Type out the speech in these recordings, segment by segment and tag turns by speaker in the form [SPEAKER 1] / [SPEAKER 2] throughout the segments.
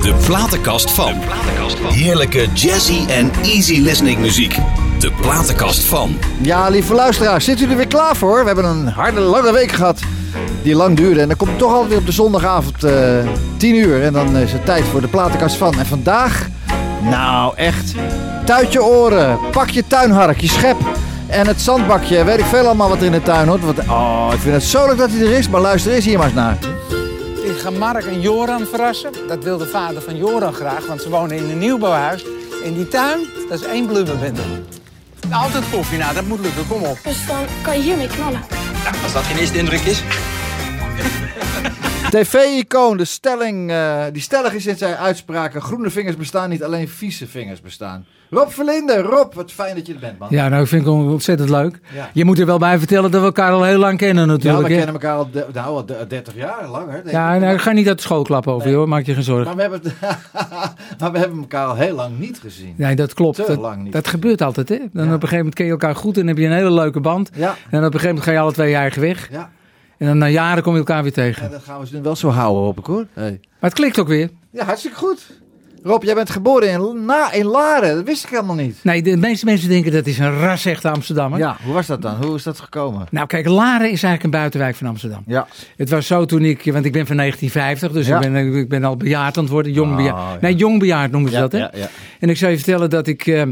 [SPEAKER 1] De platenkast van. Heerlijke jazzy en easy listening muziek. De platenkast van.
[SPEAKER 2] Ja, lieve luisteraars, zit u er weer klaar voor? We hebben een harde, lange week gehad. Die lang duurde. En dan komt het toch altijd weer op de zondagavond eh 10 uur. En dan is het tijd voor de platenkast van. En vandaag, nou echt, tuit je oren. Pak je tuinhark, je schep. En het zandbakje. Weet ik veel allemaal wat er in de tuin hoort. Want, oh, ik vind het zo leuk dat hij er is. Maar luister eens hier maar eens naar.
[SPEAKER 3] Ik ga Mark en Joran verrassen. Dat wil de vader van Joran graag, want ze wonen in een nieuwbouwhuis. In die tuin, dat is één blubberbende. Altijd koffie, nou dat moet lukken, kom op.
[SPEAKER 4] Dus dan kan je hiermee knallen.
[SPEAKER 5] Als dat geen eerste indruk is.
[SPEAKER 2] TV-icoon, de stelling, eh, die stellig is in zijn uitspraken. Groene vingers bestaan niet, alleen vieze vingers bestaan. Rob Verlinde, Rob, wat fijn dat je er bent, man.
[SPEAKER 6] Ja, nou, ik vind het ontzettend leuk.
[SPEAKER 2] Ja.
[SPEAKER 6] Je moet er wel bij vertellen dat we elkaar al heel lang kennen
[SPEAKER 2] Ja, we
[SPEAKER 6] natuurlijk. hè?
[SPEAKER 2] kennen elkaar al, de- nou, al de- 30 jaar, langer. denk
[SPEAKER 6] ja
[SPEAKER 2] ik.
[SPEAKER 6] nou, ik ga niet uit de school klappen over
[SPEAKER 2] Nee.
[SPEAKER 6] je hoor, maak je geen zorgen.
[SPEAKER 2] maar, we hebben, het- maar we hebben elkaar al heel lang niet gezien.
[SPEAKER 6] Nee, dat klopt.
[SPEAKER 2] Te
[SPEAKER 6] Dat,
[SPEAKER 2] lang niet.
[SPEAKER 6] dat gebeurt altijd, hè? Dan op een gegeven moment ken je elkaar goed en heb je een hele leuke band.
[SPEAKER 2] Ja,
[SPEAKER 6] En op een gegeven moment ga je alle twee je eigen weg.
[SPEAKER 2] ja.
[SPEAKER 6] En dan na jaren kom je elkaar weer tegen.
[SPEAKER 2] ja, dat gaan we ze nu wel zo houden, hoop ik hoor. Hey.
[SPEAKER 6] Maar het klikt ook weer.
[SPEAKER 2] Ja, hartstikke goed. Rob, jij bent geboren in, na, in Laren, dat wist ik helemaal niet.
[SPEAKER 6] Nee, de meeste mensen denken dat is een ras echte Amsterdammer.
[SPEAKER 2] Ja, hoe was dat dan? Hoe is dat gekomen?
[SPEAKER 6] Nou kijk, Laren is eigenlijk een buitenwijk van Amsterdam.
[SPEAKER 2] Ja,
[SPEAKER 6] Het was zo toen ik, want ik ben van 1950, dus
[SPEAKER 2] Ja.
[SPEAKER 6] ik, ben, ik ben al bejaard aan het worden. Jong
[SPEAKER 2] Oh,
[SPEAKER 6] bejaard.
[SPEAKER 2] ja.
[SPEAKER 6] Nee, jong bejaard noemen ze
[SPEAKER 2] ja,
[SPEAKER 6] dat, hè?
[SPEAKER 2] ja, ja.
[SPEAKER 6] En ik zou je vertellen dat ik. eh,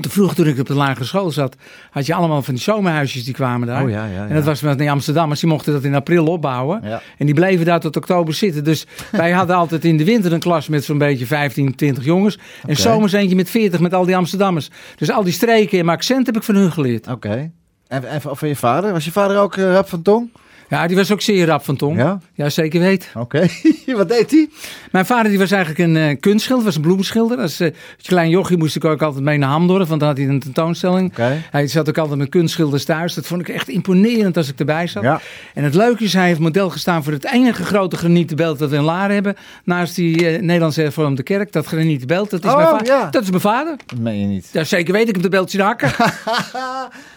[SPEAKER 6] te vroeg toen ik op de lagere school zat, had je allemaal van die zomerhuisjes die kwamen daar.
[SPEAKER 2] Oh, ja, ja,
[SPEAKER 6] En dat
[SPEAKER 2] ja.
[SPEAKER 6] was met in Amsterdam, maar ze mochten dat in april opbouwen.
[SPEAKER 2] Ja.
[SPEAKER 6] En die bleven daar tot oktober zitten. Dus wij hadden altijd in de winter een klas met zo'n beetje 15, 20 jongens. En zomers eentje met 40 met al die Amsterdammers. Dus al die streken en mijn accent heb ik van hun geleerd.
[SPEAKER 2] Oké. En, en van van je vader? Was je vader ook eh, rap van tong?
[SPEAKER 6] Ja, die was ook zeer rap van tong.
[SPEAKER 2] Ja?
[SPEAKER 6] zeker weet.
[SPEAKER 2] Oké. Wat deed hij?
[SPEAKER 6] Mijn vader die was eigenlijk een eh, kunstschilder, was een bloemschilder. Als eh, klein jochie moest ik ook altijd mee naar Hamdorf, want dan had hij een tentoonstelling.
[SPEAKER 2] Oké.
[SPEAKER 6] Hij zat ook altijd met kunstschilders thuis. Dat vond ik echt imponerend als ik erbij zat.
[SPEAKER 2] Ja.
[SPEAKER 6] En het leuke is, hij heeft model gestaan voor het enige grote granieten beeld dat we in Laren hebben. Naast die eh, Nederlandse hervormde kerk, dat granieten beeld, dat is,
[SPEAKER 2] Oh,
[SPEAKER 6] mijn vader.
[SPEAKER 2] ja.
[SPEAKER 6] dat is mijn vader.
[SPEAKER 2] Dat meen je niet.
[SPEAKER 6] Ja, zeker weet ik heb de beeld zien hakken.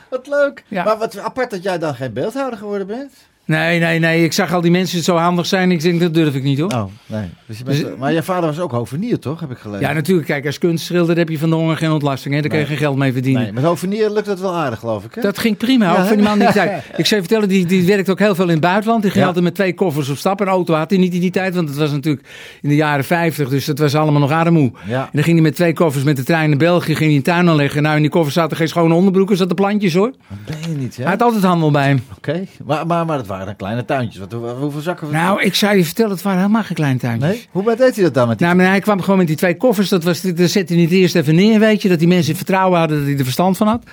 [SPEAKER 2] wat leuk.
[SPEAKER 6] Ja.
[SPEAKER 2] Maar wat apart dat jij dan geen beeldhouder geworden bent.
[SPEAKER 6] nee, nee, nee. Ik zag al die mensen zo handig zijn. Ik denk, dat durf ik niet hoor.
[SPEAKER 2] Oh, nee. Dus je bent,
[SPEAKER 6] Dus-
[SPEAKER 2] maar je vader was ook hovenier, toch? Heb ik gelezen.
[SPEAKER 6] Ja, natuurlijk. Kijk, als kunstschilder heb je van de honger geen ontlasting. Hè? Daar kun je
[SPEAKER 2] Nee.
[SPEAKER 6] geen geld mee verdienen.
[SPEAKER 2] nee, met hovenier lukt dat wel aardig, geloof ik. Hè?
[SPEAKER 6] Dat ging prima,
[SPEAKER 2] Ja,
[SPEAKER 6] hoor, van die man die
[SPEAKER 2] hè?
[SPEAKER 6] tijd. Ik zou je vertellen, die, die werkte ook heel veel in het buitenland. Die ging
[SPEAKER 2] Ja.
[SPEAKER 6] altijd met twee koffers op stap. Een auto had hij niet in die tijd, want het was natuurlijk in de jaren 50. Dus dat was allemaal nog armoe.
[SPEAKER 2] Ja.
[SPEAKER 6] En dan ging hij met twee koffers met de trein naar België, ging hij een tuin aanleggen. Nou, in die koffers zaten geen schone onderbroeken, zaten plantjes hoor.
[SPEAKER 2] Dat ben je niet, hè?
[SPEAKER 6] Hij had altijd handel bij hem.
[SPEAKER 2] Oké. Maar, maar, maar dat waren dan kleine tuintjes. Wat, hoe- hoeveel zakken?
[SPEAKER 6] Nou, ik zou je vertellen, het waren helemaal geen kleine tuintjes.
[SPEAKER 2] nee? Hoe deed hij dat dan met die...
[SPEAKER 6] Nou, maar hij kwam gewoon met die twee koffers. Dat, was, dat zette hij niet eerst even neer, weet je. Dat die mensen vertrouwen hadden dat hij er verstand van had.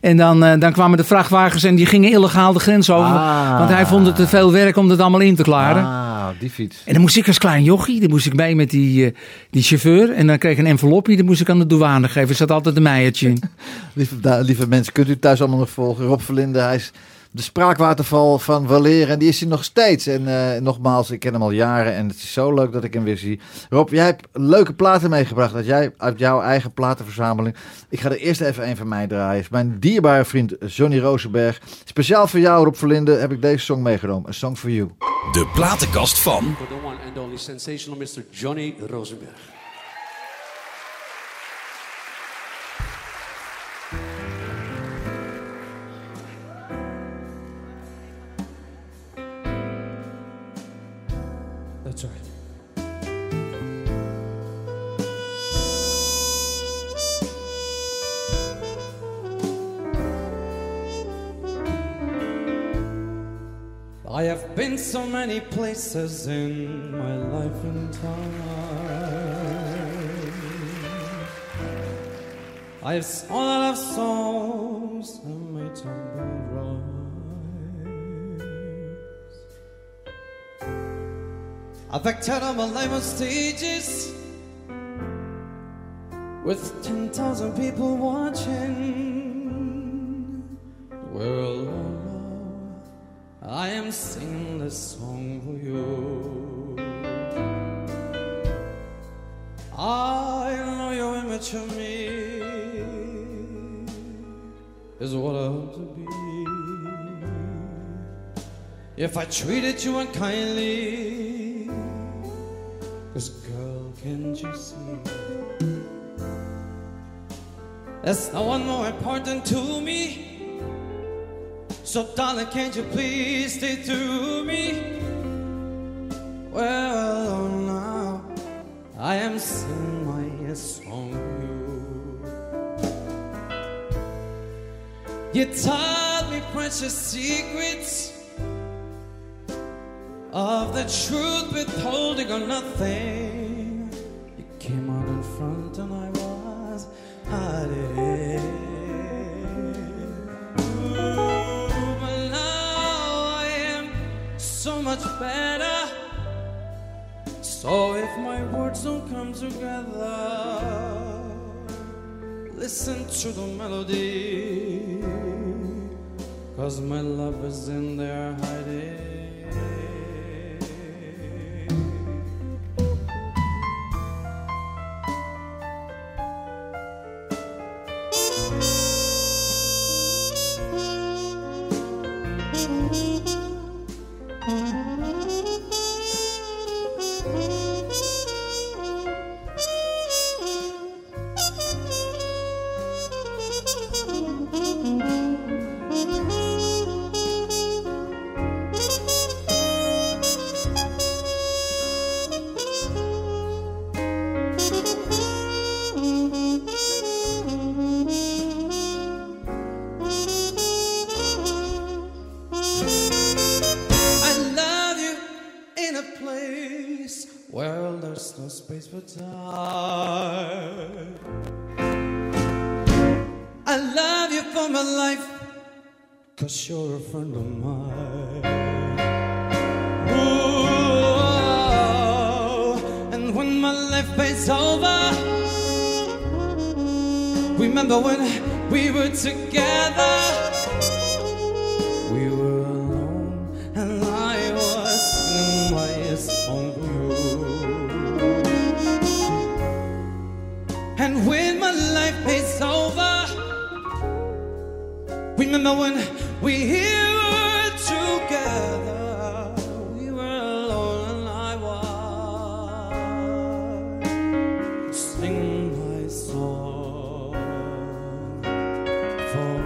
[SPEAKER 6] En dan, eh, dan kwamen de vrachtwagens en die gingen illegaal de grens over.
[SPEAKER 2] Ah.
[SPEAKER 6] Want hij vond het te veel werk om dat allemaal in te klaren.
[SPEAKER 2] ah, die fiets.
[SPEAKER 6] En dan moest ik als klein jochie, dan moest ik mee met die, eh, die chauffeur. En dan kreeg ik een envelopje, dat moest ik aan de douane geven. Er zat altijd een meiertje in.
[SPEAKER 2] Lieve, da- lieve mensen, kunt u thuis allemaal nog volgen. Rob Verlinde, hij is de spraakwaterval van Waleer. En die is hij nog steeds. En eh, nogmaals, ik ken hem al jaren. En het is zo leuk dat ik hem weer zie. Rob, jij hebt leuke platen meegebracht. Dat jij uit jouw eigen platenverzameling. Ik ga er eerst even een van mij draaien. Is Mijn dierbare vriend Johnny Rosenberg. Speciaal voor jou, Rob Verlinde, heb ik deze song meegenomen. A Song for You.
[SPEAKER 1] De platenkast van.
[SPEAKER 7] for the one and only sensational Mr. Johnny Rosenberg. That's right. I have been so many places in my life and time. I have s- all I love songs and my tumble rise. I've acted on my life on stages with 10,000 people watching. We're all alone. I am singing this song for you. I know your image of me is what I hope to be. if I treated you unkindly. Cause girl, can't you see? There's no one more important to me. So darling, can't you please stay through me? Well, now I am singing my song to you. You taught me precious secrets of the truth withholding or nothing. You came out in front and I was hiding. Ooh, but now I am so much better. So if my words don't come together, listen to the melody. Cause my love is in there hiding. I love you in a place where there's no space for time. I love you for my life, cause you're a friend of mine. Ooh, and when my life is over, Remember when we were together? We were alone, and I was singing my song for you. And when my life is over, remember when we here were together? We were alone, and I was sing my song for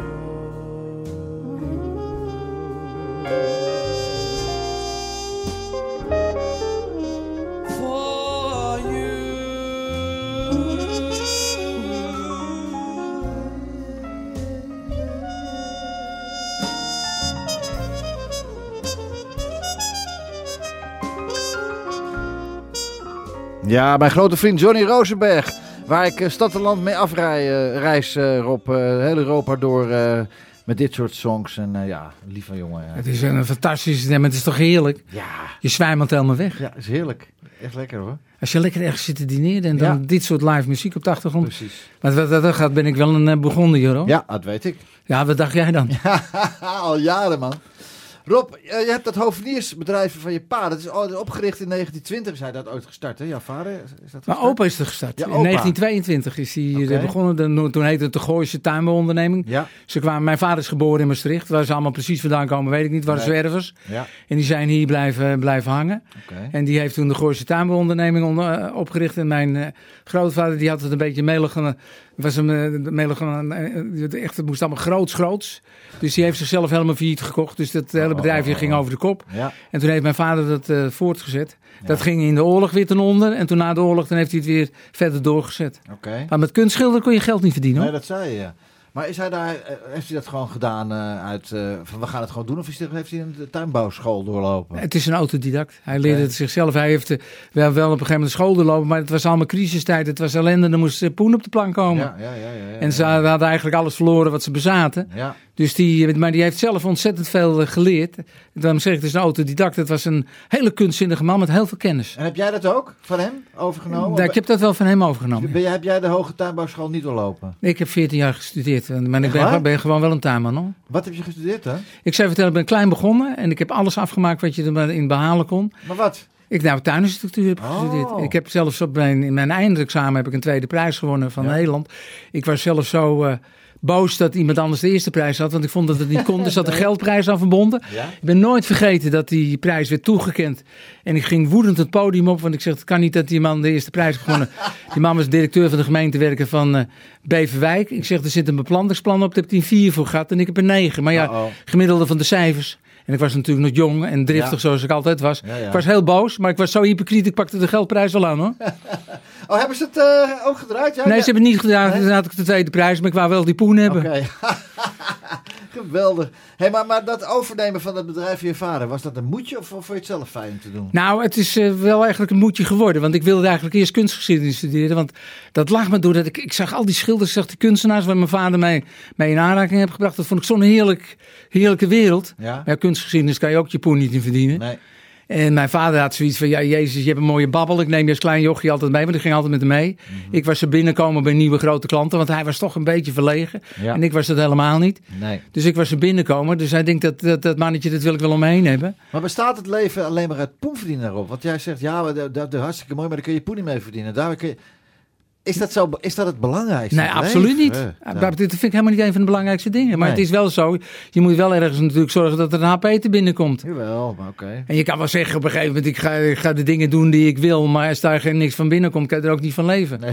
[SPEAKER 7] for you.
[SPEAKER 2] Ja, mijn grote vriend Johnny Rosenberg. Waar ik eh, stad en land mee afrij, eh, reis, eh, Rob. eh, heel Europa door eh, met dit soort songs. En eh, ja, lieve jongen. eh.
[SPEAKER 6] Het is een fantastisch, nee, maar het is toch heerlijk?
[SPEAKER 2] Ja,
[SPEAKER 6] Je zwijmelt helemaal weg.
[SPEAKER 2] ja, is heerlijk. Echt lekker hoor.
[SPEAKER 6] Als je lekker ergens zit te dineren en dan
[SPEAKER 2] Ja.
[SPEAKER 6] dit soort live muziek op de achtergrond.
[SPEAKER 2] Precies.
[SPEAKER 6] Maar wat dat gaat, ben ik wel een eh, Burgondier hoor.
[SPEAKER 2] Ja, dat weet ik.
[SPEAKER 6] Ja, wat dacht jij dan?
[SPEAKER 2] al jaren man. Rob, eh, je hebt dat hoveniersbedrijf van je pa. Dat is al- opgericht in 1920. Is hij dat ooit gestart hè? Jouw vader? Is is dat
[SPEAKER 6] Maar
[SPEAKER 2] gestart?
[SPEAKER 6] opa is er gestart.
[SPEAKER 2] Ja,
[SPEAKER 6] in
[SPEAKER 2] opa.
[SPEAKER 6] 1922 is hij eh,
[SPEAKER 2] Oké.
[SPEAKER 6] begonnen. De- no- toen heette het de Gooise tuinbouwonderneming.
[SPEAKER 2] Ja,
[SPEAKER 6] Ze kwamen, mijn vader is geboren in Maastricht. Waar ze allemaal precies vandaan komen, weet ik niet. Waar
[SPEAKER 2] Nee.
[SPEAKER 6] zwervers.
[SPEAKER 2] ja,
[SPEAKER 6] En die zijn hier blijven, blijven hangen.
[SPEAKER 2] oké.
[SPEAKER 6] En die heeft toen de Gooise tuinbouwonderneming onder- eh, opgericht. En mijn eh, grootvader die had het een beetje melig. eh, Was hem, eh, melig eh, eh, echt, het moest allemaal groots, groots. Dus die heeft zichzelf helemaal failliet gekocht. Dus dat hele
[SPEAKER 2] oh,
[SPEAKER 6] bedrijf
[SPEAKER 2] oh,
[SPEAKER 6] ging
[SPEAKER 2] oh.
[SPEAKER 6] over de kop.
[SPEAKER 2] Ja,
[SPEAKER 6] En toen heeft mijn vader dat eh, voortgezet. Dat ging in de oorlog weer ten onder. En toen na de oorlog dan heeft hij het weer verder doorgezet.
[SPEAKER 2] oké.
[SPEAKER 6] Maar met kunstschilderen kon je geld niet verdienen.
[SPEAKER 2] Nee,
[SPEAKER 6] Hoor.
[SPEAKER 2] dat zei je. ja. Maar is hij daar, eh, heeft hij dat gewoon gedaan eh, uit, eh, van we gaan het gewoon doen? Of is hij, heeft hij een tuinbouwschool doorlopen?
[SPEAKER 6] Het is een autodidact. Hij leerde
[SPEAKER 2] Oké.
[SPEAKER 6] het zichzelf. Hij heeft eh, wel, wel op een gegeven moment school doorlopen. Maar het was allemaal crisistijd. Het was ellende. Er moest eh, poen op de plank komen.
[SPEAKER 2] ja, ja, ja, ja, ja.
[SPEAKER 6] En ze hadden eigenlijk alles verloren wat ze bezaten.
[SPEAKER 2] Ja,
[SPEAKER 6] Dus die, maar die heeft zelf ontzettend veel eh, geleerd. Daarom zeg ik, het is een autodidact. Het was een hele kunstzinnige man met heel veel kennis.
[SPEAKER 2] en heb jij dat ook van hem overgenomen?
[SPEAKER 6] Ja, ik heb dat wel van hem overgenomen.
[SPEAKER 2] Ben jij- heb jij de hoge tuinbouwschool niet doorlopen?
[SPEAKER 6] Ik heb 14 jaar gestudeerd, eh, maar ik
[SPEAKER 2] Echt
[SPEAKER 6] ben,
[SPEAKER 2] waar?
[SPEAKER 6] ben gewoon wel een tuinman. Hoor.
[SPEAKER 2] Wat heb je gestudeerd dan?
[SPEAKER 6] Ik zou vertellen, ik ben klein begonnen en ik heb alles afgemaakt wat je erin behalen kon.
[SPEAKER 2] Maar wat?
[SPEAKER 6] Ik nou, tuininstructuur heb
[SPEAKER 2] Oh.
[SPEAKER 6] gestudeerd. Ik heb zelfs op mijn, in mijn eindexamen heb ik een tweede prijs gewonnen van
[SPEAKER 2] Ja.
[SPEAKER 6] Nederland. Ik was zelfs zo eh, boos dat iemand anders de eerste prijs had. Want ik vond dat het niet kon. Dus Er zat een geldprijs aan verbonden. Ik ben nooit vergeten dat die prijs werd toegekend. En ik ging woedend het podium op. Want ik zeg, het kan niet dat die man de eerste prijs heeft gewonnen. Die man was directeur van de gemeentewerken van eh, Beverwijk. Ik zeg, er zit een beplantingsplan op. Daar heb ik een 4 voor gehad en ik heb een 9. Maar ja,
[SPEAKER 2] Uh-oh.
[SPEAKER 6] gemiddelde van de cijfers. En ik was natuurlijk nog jong en driftig
[SPEAKER 2] Ja.
[SPEAKER 6] zoals ik altijd was.
[SPEAKER 2] Ja, ja.
[SPEAKER 6] Ik was heel boos, maar ik was zo hypocriet. Ik pakte de geldprijs wel aan hoor.
[SPEAKER 2] Oh, hebben ze het eh, ook gedraaid? Ja,
[SPEAKER 6] Nee,
[SPEAKER 2] ja.
[SPEAKER 6] ze hebben het niet gedaan.
[SPEAKER 2] Nee?
[SPEAKER 6] Dan had ik de tweede prijs, maar ik wou wel die poen hebben.
[SPEAKER 2] Oké. Geweldig. Hey, maar, maar dat overnemen van het bedrijf van je vader, was dat een moedje of, of vond je het zelf fijn om te doen?
[SPEAKER 6] Nou, het is eh, wel eigenlijk een moedje geworden. Want ik wilde eigenlijk eerst kunstgeschiedenis studeren. Want dat lag me doordat ik, ik zag al die schilders, ik zag die kunstenaars waar mijn vader mij mee in aanraking heeft gebracht. Dat vond ik zo'n heerlijk, heerlijke wereld.
[SPEAKER 2] Ja?
[SPEAKER 6] Maar ja, kunstgeschiedenis kan je ook je poen niet in verdienen.
[SPEAKER 2] Nee.
[SPEAKER 6] En mijn vader had zoiets van, ja Jezus, je hebt een mooie babbel. Ik neem je als klein jochie altijd mee, want ik ging altijd met hem mee.
[SPEAKER 2] Mhm.
[SPEAKER 6] Ik was er binnenkomen bij nieuwe grote klanten, want hij was toch een beetje verlegen.
[SPEAKER 2] Ja.
[SPEAKER 6] En ik was dat helemaal niet.
[SPEAKER 2] Nee.
[SPEAKER 6] Dus ik was er binnenkomen. Dus hij denkt, dat, dat, dat mannetje, dat wil ik wel om me heen hebben.
[SPEAKER 2] Maar bestaat het leven alleen maar uit poen verdienen daarop? Want jij zegt, ja, maar dat, dat is hartstikke mooi, maar daar kun je poen niet mee verdienen. Daar kun je... Is dat, zo, is dat het belangrijkste?
[SPEAKER 6] Nee,
[SPEAKER 2] Het
[SPEAKER 6] absoluut niet.
[SPEAKER 2] leven?
[SPEAKER 6] Dat
[SPEAKER 2] Nou,
[SPEAKER 6] dat vind ik helemaal niet een van de belangrijkste dingen. Maar
[SPEAKER 2] Nee.
[SPEAKER 6] het is wel zo, je moet wel ergens natuurlijk zorgen dat er een HP te binnenkomt.
[SPEAKER 2] Jawel, maar oké.
[SPEAKER 6] En je kan wel zeggen op een gegeven moment, ik ga, ik ga de dingen doen die ik wil. Maar als daar geen niks van binnenkomt, kan je er ook niet van leven.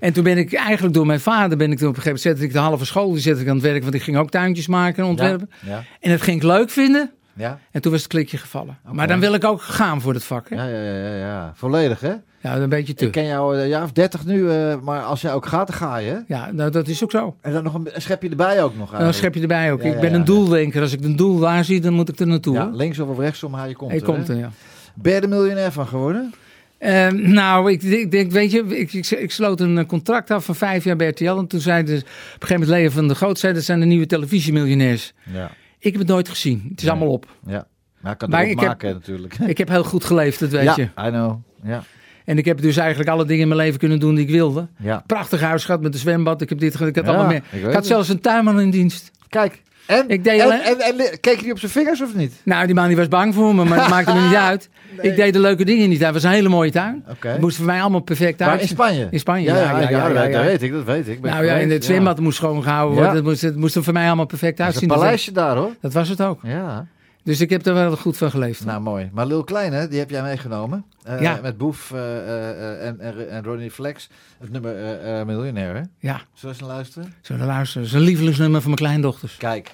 [SPEAKER 6] En toen ben ik eigenlijk door mijn vader, ben ik toen op een gegeven moment, zette ik de halve school, die zette ik aan het werk. Want ik ging ook tuintjes maken en ontwerpen.
[SPEAKER 2] Ja,
[SPEAKER 6] En dat ging ik leuk vinden.
[SPEAKER 2] ja,
[SPEAKER 6] En toen was het klikje gevallen. Maar dan wil ik ook gaan voor dat vak. Hè? Ja,
[SPEAKER 2] Oh, ja, ja, ja, ja, ja. Volledig, hè?
[SPEAKER 6] een beetje
[SPEAKER 2] Ik
[SPEAKER 6] te.
[SPEAKER 2] ken jou een jaar of dertig nu, eh, maar als jij ook gaat, dan ga je. hè?
[SPEAKER 6] Ja, nou, dat is ook zo.
[SPEAKER 2] En dan nog een, een schepje erbij ook nog
[SPEAKER 6] En dan
[SPEAKER 2] eigenlijk.
[SPEAKER 6] schep je erbij ook.
[SPEAKER 2] Ah, Ja, ja,
[SPEAKER 6] ik ben
[SPEAKER 2] ja,
[SPEAKER 6] een
[SPEAKER 2] ja.
[SPEAKER 6] doeldenker. Als ik een doel daar zie, dan moet ik er naartoe.
[SPEAKER 2] Ja,
[SPEAKER 6] hoor.
[SPEAKER 2] linksom of rechtsom, maar je komt
[SPEAKER 6] Hij
[SPEAKER 2] er,
[SPEAKER 6] komt
[SPEAKER 2] hè?
[SPEAKER 6] er, ja.
[SPEAKER 2] Ben je er miljonair van geworden?
[SPEAKER 6] Eh, nou, ik, ik denk, weet je, ik, ik, ik sloot een eh, contract af van vijf jaar bij RTL. En toen zei de, op een gegeven moment Leo van de Groot, zei, dat zijn de nieuwe televisiemiljonairs.
[SPEAKER 2] Ja.
[SPEAKER 6] Ik heb het nooit gezien. Het is allemaal op.
[SPEAKER 2] Ja, maar ik kan
[SPEAKER 6] Maar
[SPEAKER 2] het ook
[SPEAKER 6] ik heb-
[SPEAKER 2] maken hè, natuurlijk.
[SPEAKER 6] Ik heb heel goed geleefd, dat weet
[SPEAKER 2] ja,
[SPEAKER 6] je.
[SPEAKER 2] I know. Ja,
[SPEAKER 6] En ik heb dus eigenlijk alle dingen in mijn leven kunnen doen die ik wilde.
[SPEAKER 2] ja.
[SPEAKER 6] Prachtig huis gehad met een zwembad. Ik heb dit, ge- ik had
[SPEAKER 2] Ja,
[SPEAKER 6] allemaal meer.
[SPEAKER 2] ik weet
[SPEAKER 6] Ik, had
[SPEAKER 2] het.
[SPEAKER 6] zelfs een tuinman in dienst.
[SPEAKER 2] Kijk, en,
[SPEAKER 6] Ik deed
[SPEAKER 2] en,
[SPEAKER 6] alleen-
[SPEAKER 2] en, en, keek hij op zijn vingers of niet?
[SPEAKER 6] Nou, die man die was bang voor me, maar dat maakte me niet uit. Ik deed de leuke dingen niet. Hij was een hele mooie tuin.
[SPEAKER 2] Oké.
[SPEAKER 6] Het moest voor mij allemaal perfect uit.
[SPEAKER 2] Maar in Spanje?
[SPEAKER 6] In Spanje,
[SPEAKER 2] ja.
[SPEAKER 6] ja,
[SPEAKER 2] Ja,
[SPEAKER 6] ja,
[SPEAKER 2] ik-
[SPEAKER 6] ja,
[SPEAKER 2] dat
[SPEAKER 6] ja,
[SPEAKER 2] weet-
[SPEAKER 6] ja.
[SPEAKER 2] dat weet ik, dat weet ik. Ben
[SPEAKER 6] Nou ja,
[SPEAKER 2] geweest,
[SPEAKER 6] in het zwembad moest schoongehouden worden.
[SPEAKER 2] Ja.
[SPEAKER 6] Het, moest, het moest er voor mij allemaal perfect
[SPEAKER 2] Dat is een
[SPEAKER 6] uitzien.
[SPEAKER 2] paleisje daar hoor.
[SPEAKER 6] Dat was het ook.
[SPEAKER 2] Ja,
[SPEAKER 6] Dus ik heb er wel goed van geleefd.
[SPEAKER 2] nou mooi. Maar Lil Kleine, die heb jij meegenomen. Eh,
[SPEAKER 6] Ja.
[SPEAKER 2] Met Boef eh, eh, en, en, en Ronnie Flex. Het nummer eh eh, Miljonair, hè?
[SPEAKER 6] ja,
[SPEAKER 2] Zullen we eens naar luisteren?
[SPEAKER 6] zullen we luisteren. Dat is een lievelingsnummer van mijn kleindochters.
[SPEAKER 2] Kijk,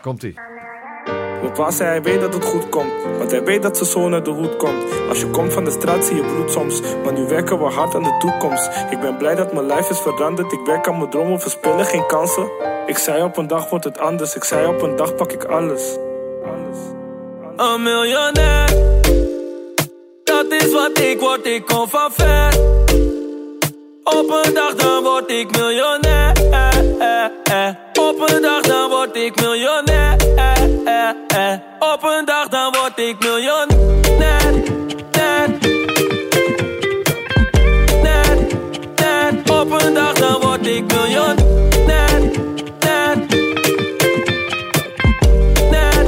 [SPEAKER 2] komt-ie.
[SPEAKER 4] Papa zei hij weet dat het goed komt, want hij weet dat zijn zoon uit de hoed komt. Als je komt van de straat zie je bloed soms, maar nu werken we hard aan de toekomst. Ik ben blij dat mijn lijf is veranderd, ik werk aan mijn dromen, verspillen geen kansen. Ik zei op een dag wordt het anders, ik zei op een dag pak ik alles. Alles.
[SPEAKER 8] Een miljonair, dat is wat ik word, ik kom van ver. Op een dag dan word ik miljonair. Op een dag dan word ik miljonair. Op een dag dan word ik miljonair. Net, net, net. Op een dag dan word ik miljonair. Net, net,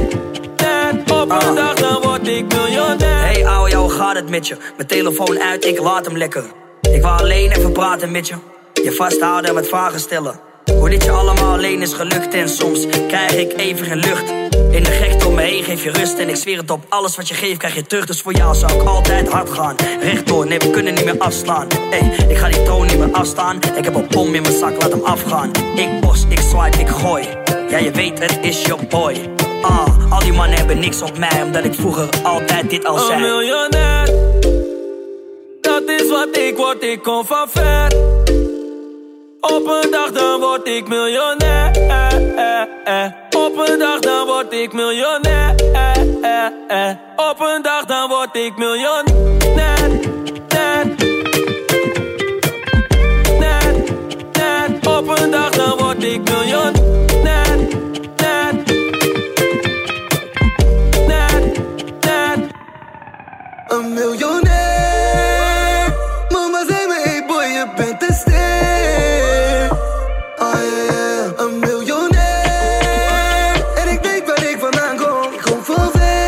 [SPEAKER 8] net. Op een dag dan word ik miljonair.
[SPEAKER 9] Hey ouwe, jou, hoe gaat het met je? Mijn telefoon uit, ik laat hem lekker. Ik wou alleen even praten met je. Je vasthouden en wat vragen stellen. Hoe dit je allemaal alleen is gelukt en soms krijg ik even geen lucht. In de gekte om me heen geef je rust en ik zweer het op. Alles wat je geeft krijg je terug, dus voor jou zou ik altijd hard gaan. Rechtdoor, nee we kunnen niet meer afslaan. Hey, ik ga die troon niet meer afstaan. Ik heb een bom in mijn zak, laat hem afgaan. Ik bos, ik swipe, ik gooi. Ja je weet, het is je boy. Ah, al die mannen hebben niks op mij, omdat ik vroeger altijd dit al
[SPEAKER 8] Een
[SPEAKER 9] zei.
[SPEAKER 8] miljonair, dat is wat ik word, ik kom van ver. Op een dag dan word ik miljonair. Op een dag dan word ik miljonair. Op een dag dan word ik miljonair. Net, net, net. Op een dag dan word ik miljonair. Net, net, net. Een miljonair. Mama zei me, hey boy, je bent een ster. Ah yeah, een miljonair. En ik denk waar ik vandaan kom, ik kom van ver.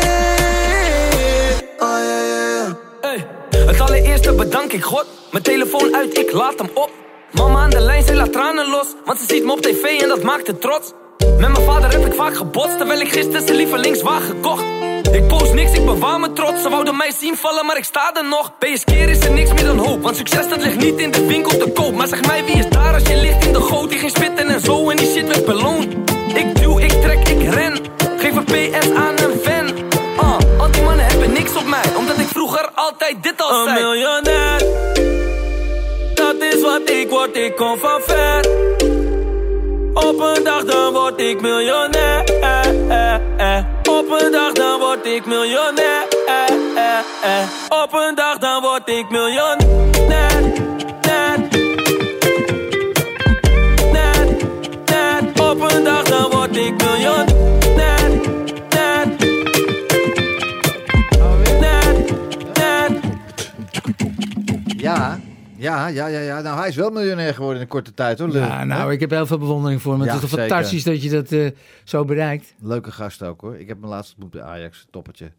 [SPEAKER 8] Ah yeah.
[SPEAKER 9] Hey, het allereerste bedank ik God. Mijn telefoon uit, ik laat hem op.
[SPEAKER 8] Mama aan de lijn, ze laat tranen los. Want ze ziet me op tv en dat maakt het trots. Met mijn vader heb ik vaak gebotst, terwijl ik gisteren zijn lievelings waar gekocht. Ik post niks, ik bewaar me trots. Ze wouden mij zien vallen, maar ik sta er nog. Bij je keer is er niks meer dan hoop. Want succes dat ligt niet in de winkel te koop. Maar zeg mij, wie is daar als je ligt in de goot? Die ging spitten en zo en die shit werd beloond. Ik duw, ik trek, ik ren. Geef een PS aan een fan. Ah, al die mannen hebben niks op mij, omdat ik vroeger altijd dit al zei. Een miljonair, dat is wat ik word, ik kom van ver. Op een dag dan word ik miljonair. Op een dag dan word ik miljonair. Op een dag dan word ik miljonair. Net, net, net. Op een dag dan word ik miljonair. Net, net. Net, net.
[SPEAKER 2] Ja, ja, ja, ja, ja. Nou, hij is wel miljonair geworden in een korte tijd, hoor.
[SPEAKER 6] Ja, nou, ik heb heel veel bewondering voor hem. Het
[SPEAKER 2] Ja,
[SPEAKER 6] is toch
[SPEAKER 2] zeker.
[SPEAKER 6] fantastisch dat je dat eh, zo bereikt.
[SPEAKER 2] Leuke gast ook, hoor. Ik heb hem laatst ontmoet bij Ajax, toppertje.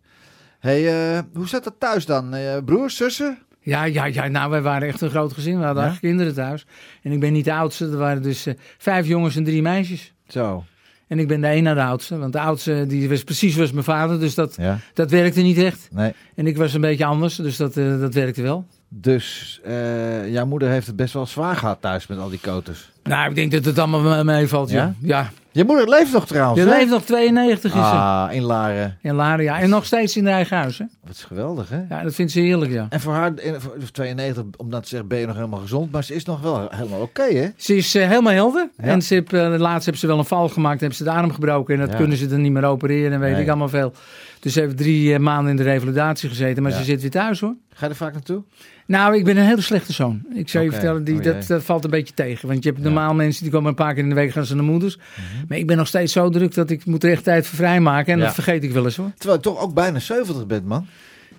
[SPEAKER 2] hey, eh, hoe zat dat thuis dan? Eh, broers, zussen?
[SPEAKER 6] Ja, ja, ja, nou, wij waren echt een groot gezin. We hadden
[SPEAKER 2] Ja?
[SPEAKER 6] acht kinderen thuis. En ik ben niet de oudste. Er waren dus eh, vijf jongens en drie meisjes.
[SPEAKER 2] Zo.
[SPEAKER 6] En ik ben de een na de oudste. Want de oudste, die was precies was mijn vader. Dus dat,
[SPEAKER 2] Ja,
[SPEAKER 6] dat werkte niet echt.
[SPEAKER 2] nee.
[SPEAKER 6] En ik was een beetje anders. Dus dat, eh, dat werkte wel.
[SPEAKER 2] Dus eh, jouw moeder heeft het best wel zwaar gehad thuis met al die koters.
[SPEAKER 6] Nou, ik denk dat het allemaal me- meevalt. Ja? Ja.
[SPEAKER 2] Je moeder leeft nog trouwens,
[SPEAKER 6] Je
[SPEAKER 2] hè?
[SPEAKER 6] leeft nog 92 is ze.
[SPEAKER 2] Ah, in Laren.
[SPEAKER 6] In Laren, ja. En nog steeds in haar eigen huis. Hè?
[SPEAKER 2] Wat is geweldig, hè?
[SPEAKER 6] Ja, dat vindt ze heerlijk, ja.
[SPEAKER 2] En voor haar, in- voor- of 92, omdat ze zegt, ben je nog helemaal gezond? Maar ze is nog wel helemaal oké, hè?
[SPEAKER 6] Ze is eh, helemaal helder.
[SPEAKER 2] Ja.
[SPEAKER 6] En ze heb, eh, laatst hebben ze wel een val gemaakt. Hebben ze de arm gebroken. En dat
[SPEAKER 2] Ja.
[SPEAKER 6] kunnen ze dan niet meer opereren. En weet
[SPEAKER 2] Nee.
[SPEAKER 6] ik allemaal veel. Dus ze heeft drie eh, maanden in de revalidatie gezeten. Maar
[SPEAKER 2] Ja.
[SPEAKER 6] ze zit weer thuis hoor.
[SPEAKER 2] Ga je er vaak naartoe?
[SPEAKER 6] Nou, ik ben een hele slechte zoon. Ik zou je
[SPEAKER 2] Oké.
[SPEAKER 6] vertellen, die,
[SPEAKER 2] Oh, jee.
[SPEAKER 6] dat, dat valt een beetje tegen. Want je hebt normaal mensen die komen een paar keer in de week gaan ze naar moeders. Maar ik ben nog steeds zo druk dat ik moet er echt tijd voor vrijmaken. En
[SPEAKER 2] Mhm. Ja.
[SPEAKER 6] dat vergeet ik wel eens hoor.
[SPEAKER 2] Terwijl je toch ook bijna 70 bent, man.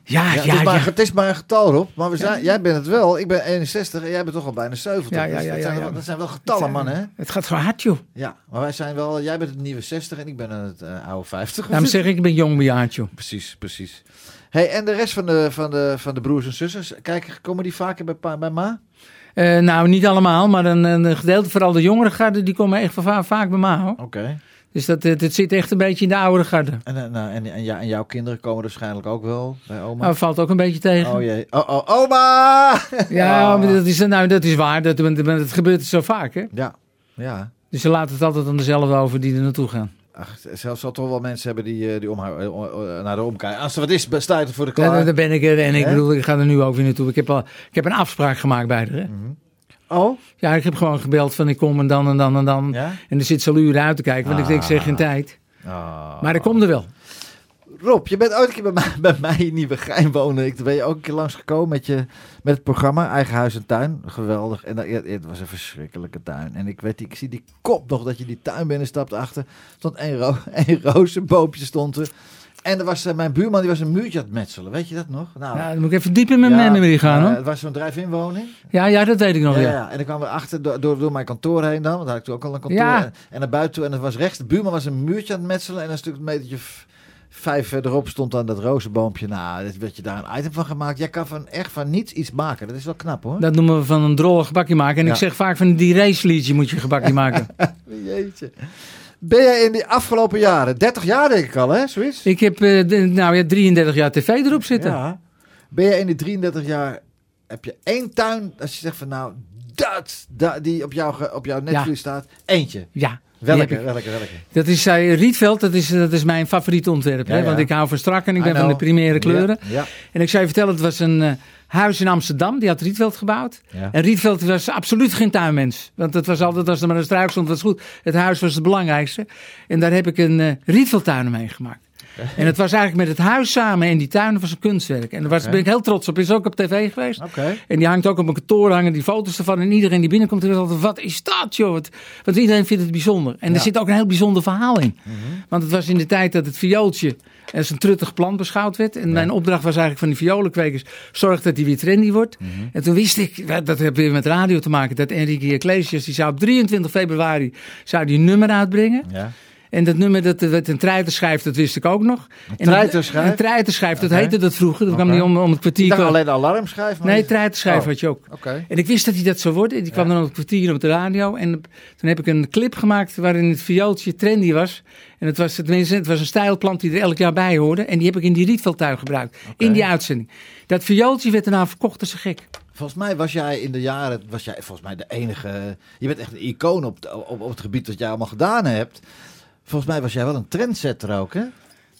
[SPEAKER 6] Ja, ja,
[SPEAKER 2] het, is
[SPEAKER 6] ja.
[SPEAKER 2] dus maar, het is maar een getal, Rob. Maar we zijn, jij bent het wel. Ik ben 61 en jij bent toch al bijna 70.
[SPEAKER 6] Ja, ja,
[SPEAKER 2] Dus
[SPEAKER 6] ja,
[SPEAKER 2] dat,
[SPEAKER 6] ja,
[SPEAKER 2] zijn
[SPEAKER 6] ja.
[SPEAKER 2] Wel, dat zijn wel getallen, man, hè?
[SPEAKER 6] Het gaat gewoon hard joh.
[SPEAKER 2] Ja, maar wij zijn wel... Jij bent het nieuwe 60 en ik ben het eh, oude 50.
[SPEAKER 6] Daarom zeg ik, ik ben jong bejaard joh.
[SPEAKER 2] Precies, precies. Hey, en de rest van de, van de, van de broers en zussen, kijk, komen die vaker bij, pa, bij ma?
[SPEAKER 6] Eh, nou, niet allemaal. Maar een, een gedeelte, vooral de jongere garde, die komen echt va- vaak bij mij hoor.
[SPEAKER 2] Oké.
[SPEAKER 6] Dus dat, eh, dat zit echt een beetje in de oudere garde.
[SPEAKER 2] En, eh, nou, en, en, ja, en jouw kinderen komen waarschijnlijk ook wel bij oma?
[SPEAKER 6] Maar valt ook een beetje tegen.
[SPEAKER 2] Oh jee. Oh, oh, oma!
[SPEAKER 6] Ja,
[SPEAKER 2] Ah.
[SPEAKER 6] maar dat is, nou, dat is waar. Dat, dat, dat gebeurt zo vaak, hè?
[SPEAKER 2] Ja, ja.
[SPEAKER 6] Dus ze laten het altijd aan dezelfde over die er naartoe gaan.
[SPEAKER 2] Ach, zelfs zal toch wel mensen hebben die, eh, die om haar, eh, om- eh, naar de omkijken. Als er wat is, sta je er voor de
[SPEAKER 6] Ja,
[SPEAKER 2] klaar.
[SPEAKER 6] daar ben ik er en ik
[SPEAKER 2] Hè?
[SPEAKER 6] bedoel, ik ga er nu ook weer naartoe. Ik heb, al, ik heb een afspraak gemaakt bij haar. Hè?
[SPEAKER 2] Mm. Oh?
[SPEAKER 6] Ja, ik heb gewoon gebeld van ik kom en dan en dan en dan.
[SPEAKER 2] Ja?
[SPEAKER 6] En er zit ze al uren uit te kijken, want ik denk, ik zeg geen tijd.
[SPEAKER 2] Ah.
[SPEAKER 6] Maar ik kom er wel.
[SPEAKER 2] Rob, je bent ooit een keer bij mij, bij mij in Nieuwegein wonen. Ik, toen ben je ook een keer langsgekomen met, je, met het programma Eigen Huis en Tuin. Geweldig. En dat, ja, het was een verschrikkelijke tuin. En ik, weet, die- ik zie die kop nog dat je die tuin binnenstapt achter. stond één, ro één rozenboompje stond er. En er was, eh, mijn buurman die was een muurtje aan het metselen. Weet je dat nog? Nou,
[SPEAKER 6] Ja, dan moet ik even diep in mijn
[SPEAKER 2] ja,
[SPEAKER 6] memory gaan,
[SPEAKER 2] eh,
[SPEAKER 6] hoor.
[SPEAKER 2] Het was zo'n drijf-inwoning.
[SPEAKER 6] Ja, ja, dat weet ik nog,
[SPEAKER 2] Ja,
[SPEAKER 6] Oh, ja.
[SPEAKER 2] ja. En ik kwam weer achter door, door, door mijn kantoor heen dan. Want daar had ik toen ook al een kantoor.
[SPEAKER 6] Ja.
[SPEAKER 2] En, en naar buiten toe. En het was rechts. De buurman was een muurtje aan het metselen. En een stuk een metertje v- vijf verderop stond dan dat rozenboompje. Nou, dit werd je daar een item van gemaakt. Jij kan van, echt van niets iets maken. Dat is wel knap hoor.
[SPEAKER 6] Dat noemen we van een drollig gebakje maken. En
[SPEAKER 2] Ja.
[SPEAKER 6] ik zeg vaak van die race liedje moet je gebakje maken.
[SPEAKER 2] Jeetje. Ben jij in die afgelopen jaren, 30 jaar denk ik al hè, zoiets?
[SPEAKER 6] ik heb eh, d- nou ja, 33 jaar tv erop zitten.
[SPEAKER 2] Ja. Ben jij in die 33 jaar, heb je één tuin, als je zegt van nou, dat, dat die op, jou, ge- op jouw netvlies staat, eentje.
[SPEAKER 6] Ja, die heb
[SPEAKER 2] Welke,
[SPEAKER 6] ik.
[SPEAKER 2] welke, welke?
[SPEAKER 6] Dat is eh, Rietveld, dat is, dat is mijn favoriete ontwerp.
[SPEAKER 2] Ja,
[SPEAKER 6] hè?
[SPEAKER 2] ja.
[SPEAKER 6] Want ik hou van strak en ik
[SPEAKER 2] I
[SPEAKER 6] ben van de
[SPEAKER 2] know.
[SPEAKER 6] primaire kleuren.
[SPEAKER 2] Ja, ja.
[SPEAKER 6] En ik zou je vertellen, het was een eh, huis in Amsterdam, die had Rietveld gebouwd.
[SPEAKER 2] Ja.
[SPEAKER 6] En Rietveld was absoluut geen tuinmens. Want het was altijd, als er maar een struik stond, was het goed. Het huis was het belangrijkste. En daar heb ik een eh Rietveldtuin mee gemaakt. En het was eigenlijk met het huis samen en die tuin was een kunstwerk. En daar was, ben ik heel trots op. Is ook op tv geweest.
[SPEAKER 2] Oké.
[SPEAKER 6] En die hangt ook op mijn kantoor, hangen die foto's ervan. En iedereen die binnenkomt, die zegt altijd, wat is dat, joh? Wat- Want iedereen vindt het bijzonder. En er zit ook een heel bijzonder verhaal in.
[SPEAKER 2] Mhm.
[SPEAKER 6] Want het was in de tijd dat het viooltje als een truttig plant beschouwd werd. En mijn opdracht was eigenlijk van die violenkwekers, zorg dat die weer trendy wordt.
[SPEAKER 2] Mhm.
[SPEAKER 6] En toen wist ik, ja, dat heeft weer met radio te maken, dat Enrique Iglesias, die zou op 23 februari zou die een nummer uitbrengen.
[SPEAKER 2] Ja.
[SPEAKER 6] En dat nummer dat eh, werd een treiter schrijft, dat wist ik ook nog. En dat-
[SPEAKER 2] treiterschijf?
[SPEAKER 6] Een treiterschijf, dat
[SPEAKER 2] Oké.
[SPEAKER 6] heette dat vroeger. Dat kwam
[SPEAKER 2] Oké.
[SPEAKER 6] niet om, om het kwartier.
[SPEAKER 2] Ik dacht
[SPEAKER 6] kwam-
[SPEAKER 2] alleen de alarmschijf. maar
[SPEAKER 6] Nee,
[SPEAKER 2] die-
[SPEAKER 6] treiterschijf
[SPEAKER 2] Oh,
[SPEAKER 6] had je ook.
[SPEAKER 2] Oké.
[SPEAKER 6] En ik wist dat hij dat zou worden. Die kwam dan op het kwartier op de radio. En toen heb ik een clip gemaakt waarin het viooltje trendy was. En het was, tenminste, het was een stijlplant die er elk jaar bij hoorde. En die heb ik in die rietveldtuin gebruikt. In die uitzending. Dat viooltje werd daarna verkocht als een gek.
[SPEAKER 2] Volgens mij was jij in de jaren, was jij volgens mij de enige. Je bent echt een icoon op, het- op, op het gebied dat jij allemaal gedaan hebt. Volgens mij was jij wel een trendsetter ook, hè?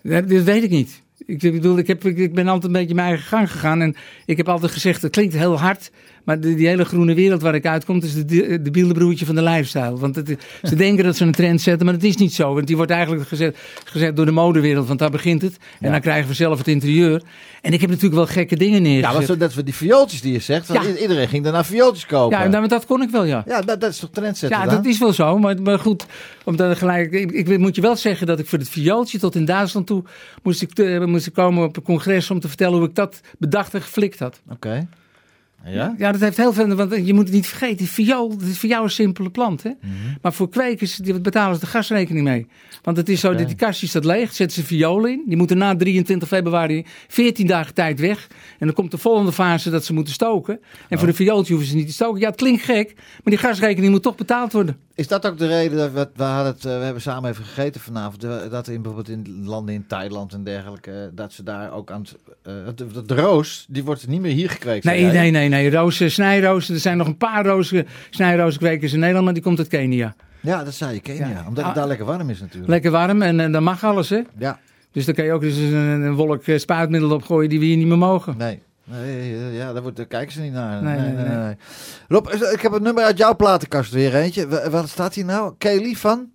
[SPEAKER 6] Dat, dat weet ik niet. Ik bedoel, ik, heb, ik, ik ben altijd een beetje mijn eigen gang gegaan. En ik heb altijd gezegd, het klinkt heel hard. Maar de- die hele groene wereld waar ik uitkom, is de, de, de bielerbroertje van de lifestyle. Want het, ze denken dat ze een trend zetten, maar dat is niet zo. Want die wordt eigenlijk gezet, gezet door de modewereld, want daar begint het. En dan krijgen we zelf het interieur. En ik heb natuurlijk wel gekke dingen
[SPEAKER 2] Ja,
[SPEAKER 6] neergezet.
[SPEAKER 2] maar zo, dat we die viooltjes die je zegt. want
[SPEAKER 6] Ja.
[SPEAKER 2] i- Iedereen ging daarna viooltjes kopen.
[SPEAKER 6] Ja,
[SPEAKER 2] Ja,
[SPEAKER 6] nou, maar dat kon ik wel, ja.
[SPEAKER 2] dat, dat is toch trendsetter
[SPEAKER 6] Ja,
[SPEAKER 2] dan?
[SPEAKER 6] dat is wel zo. Maar, maar goed, omdat ik gelijk, ik, ik moet je wel zeggen dat ik voor het viooltje tot in Duitsland toe moest ik, eh, moest ik komen op een congres om te vertellen hoe ik dat bedacht en geflikt had.
[SPEAKER 2] Oké. Ja?
[SPEAKER 6] Ja, dat heeft heel veel. Want je moet het niet vergeten, viool, dat is voor jou een simpele plant. Hè? Maar voor kwekers die betalen ze de gasrekening mee. Want het is zo dat die kastjes staat leeg, zetten ze viool in. Die moeten na 23 februari 14 dagen tijd weg. En dan komt de volgende fase dat ze moeten stoken. En voor een viooltje hoeven ze niet te stoken. Ja, het klinkt gek, maar die gasrekening moet toch betaald worden.
[SPEAKER 2] Is dat ook de reden dat we, we, hadden het, eh, we hebben samen even gegeten vanavond? eh, Dat in bijvoorbeeld in landen in Thailand en dergelijke, eh, dat ze daar ook aan het. eh, de, de- de roos, die wordt niet meer hier gekweekt.
[SPEAKER 6] Nee,
[SPEAKER 2] zei jij.
[SPEAKER 6] nee, nee, nee. Rozen, snijrozen. Er zijn nog een paar rozen, snijrozenkwekers in Nederland, maar die komt uit Kenia.
[SPEAKER 2] Ja, dat zei je Kenia.
[SPEAKER 6] Ja.
[SPEAKER 2] Omdat het
[SPEAKER 6] Ah.
[SPEAKER 2] daar lekker warm is natuurlijk.
[SPEAKER 6] Lekker warm en, eh, dan mag alles, hè.
[SPEAKER 2] ja,
[SPEAKER 6] Dus dan kan je ook dus een, een wolk eh, spuitmiddel opgooien die we hier niet meer mogen.
[SPEAKER 2] nee. Nee, eh, ja, daar, wordt, daar kijken ze niet naar.
[SPEAKER 6] Nee, nee, nee.
[SPEAKER 2] Rob, is- ik heb een nummer uit jouw platenkast weer eentje. Wa- Wat staat hier nou? Kelly van?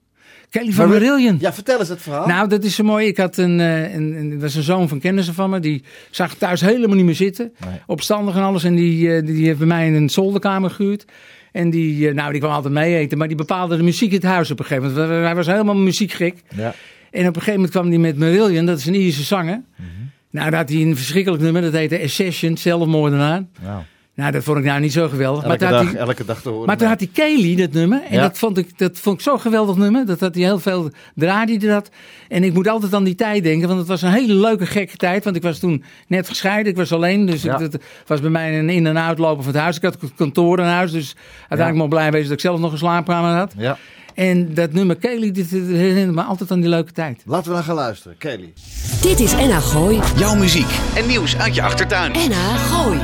[SPEAKER 6] Kelly van
[SPEAKER 2] Maar we-
[SPEAKER 6] Marillion.
[SPEAKER 2] Ja, vertel eens het verhaal.
[SPEAKER 6] Nou, dat is zo mooi. Ik had een, eh, een, een, dat was een zoon van kennissen van me. Die zag het thuis helemaal niet meer zitten.
[SPEAKER 2] Nee.
[SPEAKER 6] Opstandig en alles. En die, eh, die, die heeft bij mij een zolderkamer gehuurd. En die, eh, nou, die kwam altijd mee eten. Maar die bepaalde de muziek in het huis op een gegeven moment. Want Hij was helemaal muziekgek.
[SPEAKER 2] ja.
[SPEAKER 6] En op een gegeven moment kwam hij met Marillion, dat is een Ierse zanger.
[SPEAKER 2] Mhm.
[SPEAKER 6] Nou, daar had hij een verschrikkelijk nummer, dat heette Accession, zelfmoordenaar.
[SPEAKER 2] Nou,
[SPEAKER 6] Nou, dat vond ik nou niet zo geweldig. maar
[SPEAKER 2] elke,
[SPEAKER 6] toen had
[SPEAKER 2] dag,
[SPEAKER 6] hij-
[SPEAKER 2] elke dag te horen.
[SPEAKER 6] maar toen had hij Kelly, dat nummer. En
[SPEAKER 2] Ja.
[SPEAKER 6] dat, vond ik, dat vond ik zo'n geweldig nummer. Dat had hij heel veel draaide hij dat. En ik moet altijd aan die tijd denken. Want het was een hele leuke, gekke tijd. Want ik was toen net gescheiden. Ik was alleen. Dus
[SPEAKER 2] Ja.
[SPEAKER 6] het het was bij mij een in- en uitlopen van het huis. Ik had het kantoor in huis. Dus uiteindelijk mocht blij wezen dat ik zelf nog een slaapkamer had.
[SPEAKER 2] Ja.
[SPEAKER 6] En dat nummer Kelly, dit dit herinnert me altijd aan die leuke tijd.
[SPEAKER 2] Laten we dan gaan luisteren. Kelly.
[SPEAKER 10] Dit is NH Gooi.
[SPEAKER 1] Jouw muziek en nieuws uit je achtertuin.
[SPEAKER 10] NH Gooi.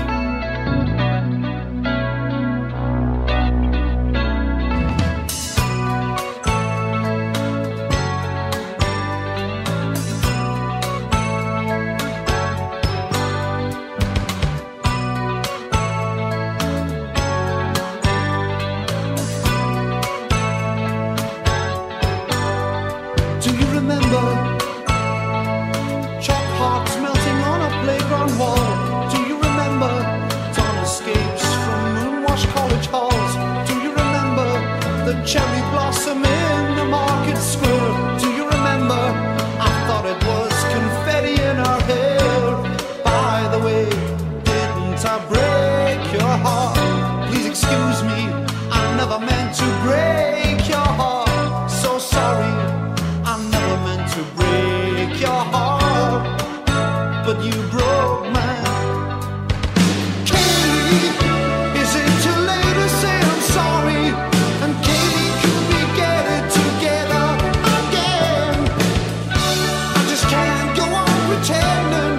[SPEAKER 11] Do you remember chalk hearts melting on a playground wall? Do you remember dawn escapes from moonwash college halls? Do you remember the cherry blossom in the market square? Do you remember? I thought it was confetti in our hair. By the way, didn't I break your heart? Please excuse me, I never meant to break your heart. So sorry, I never meant to break your heart, but you broke mine. Katie, is it too late to say I'm sorry? And Katie, could we get it together again? I just can't go on pretending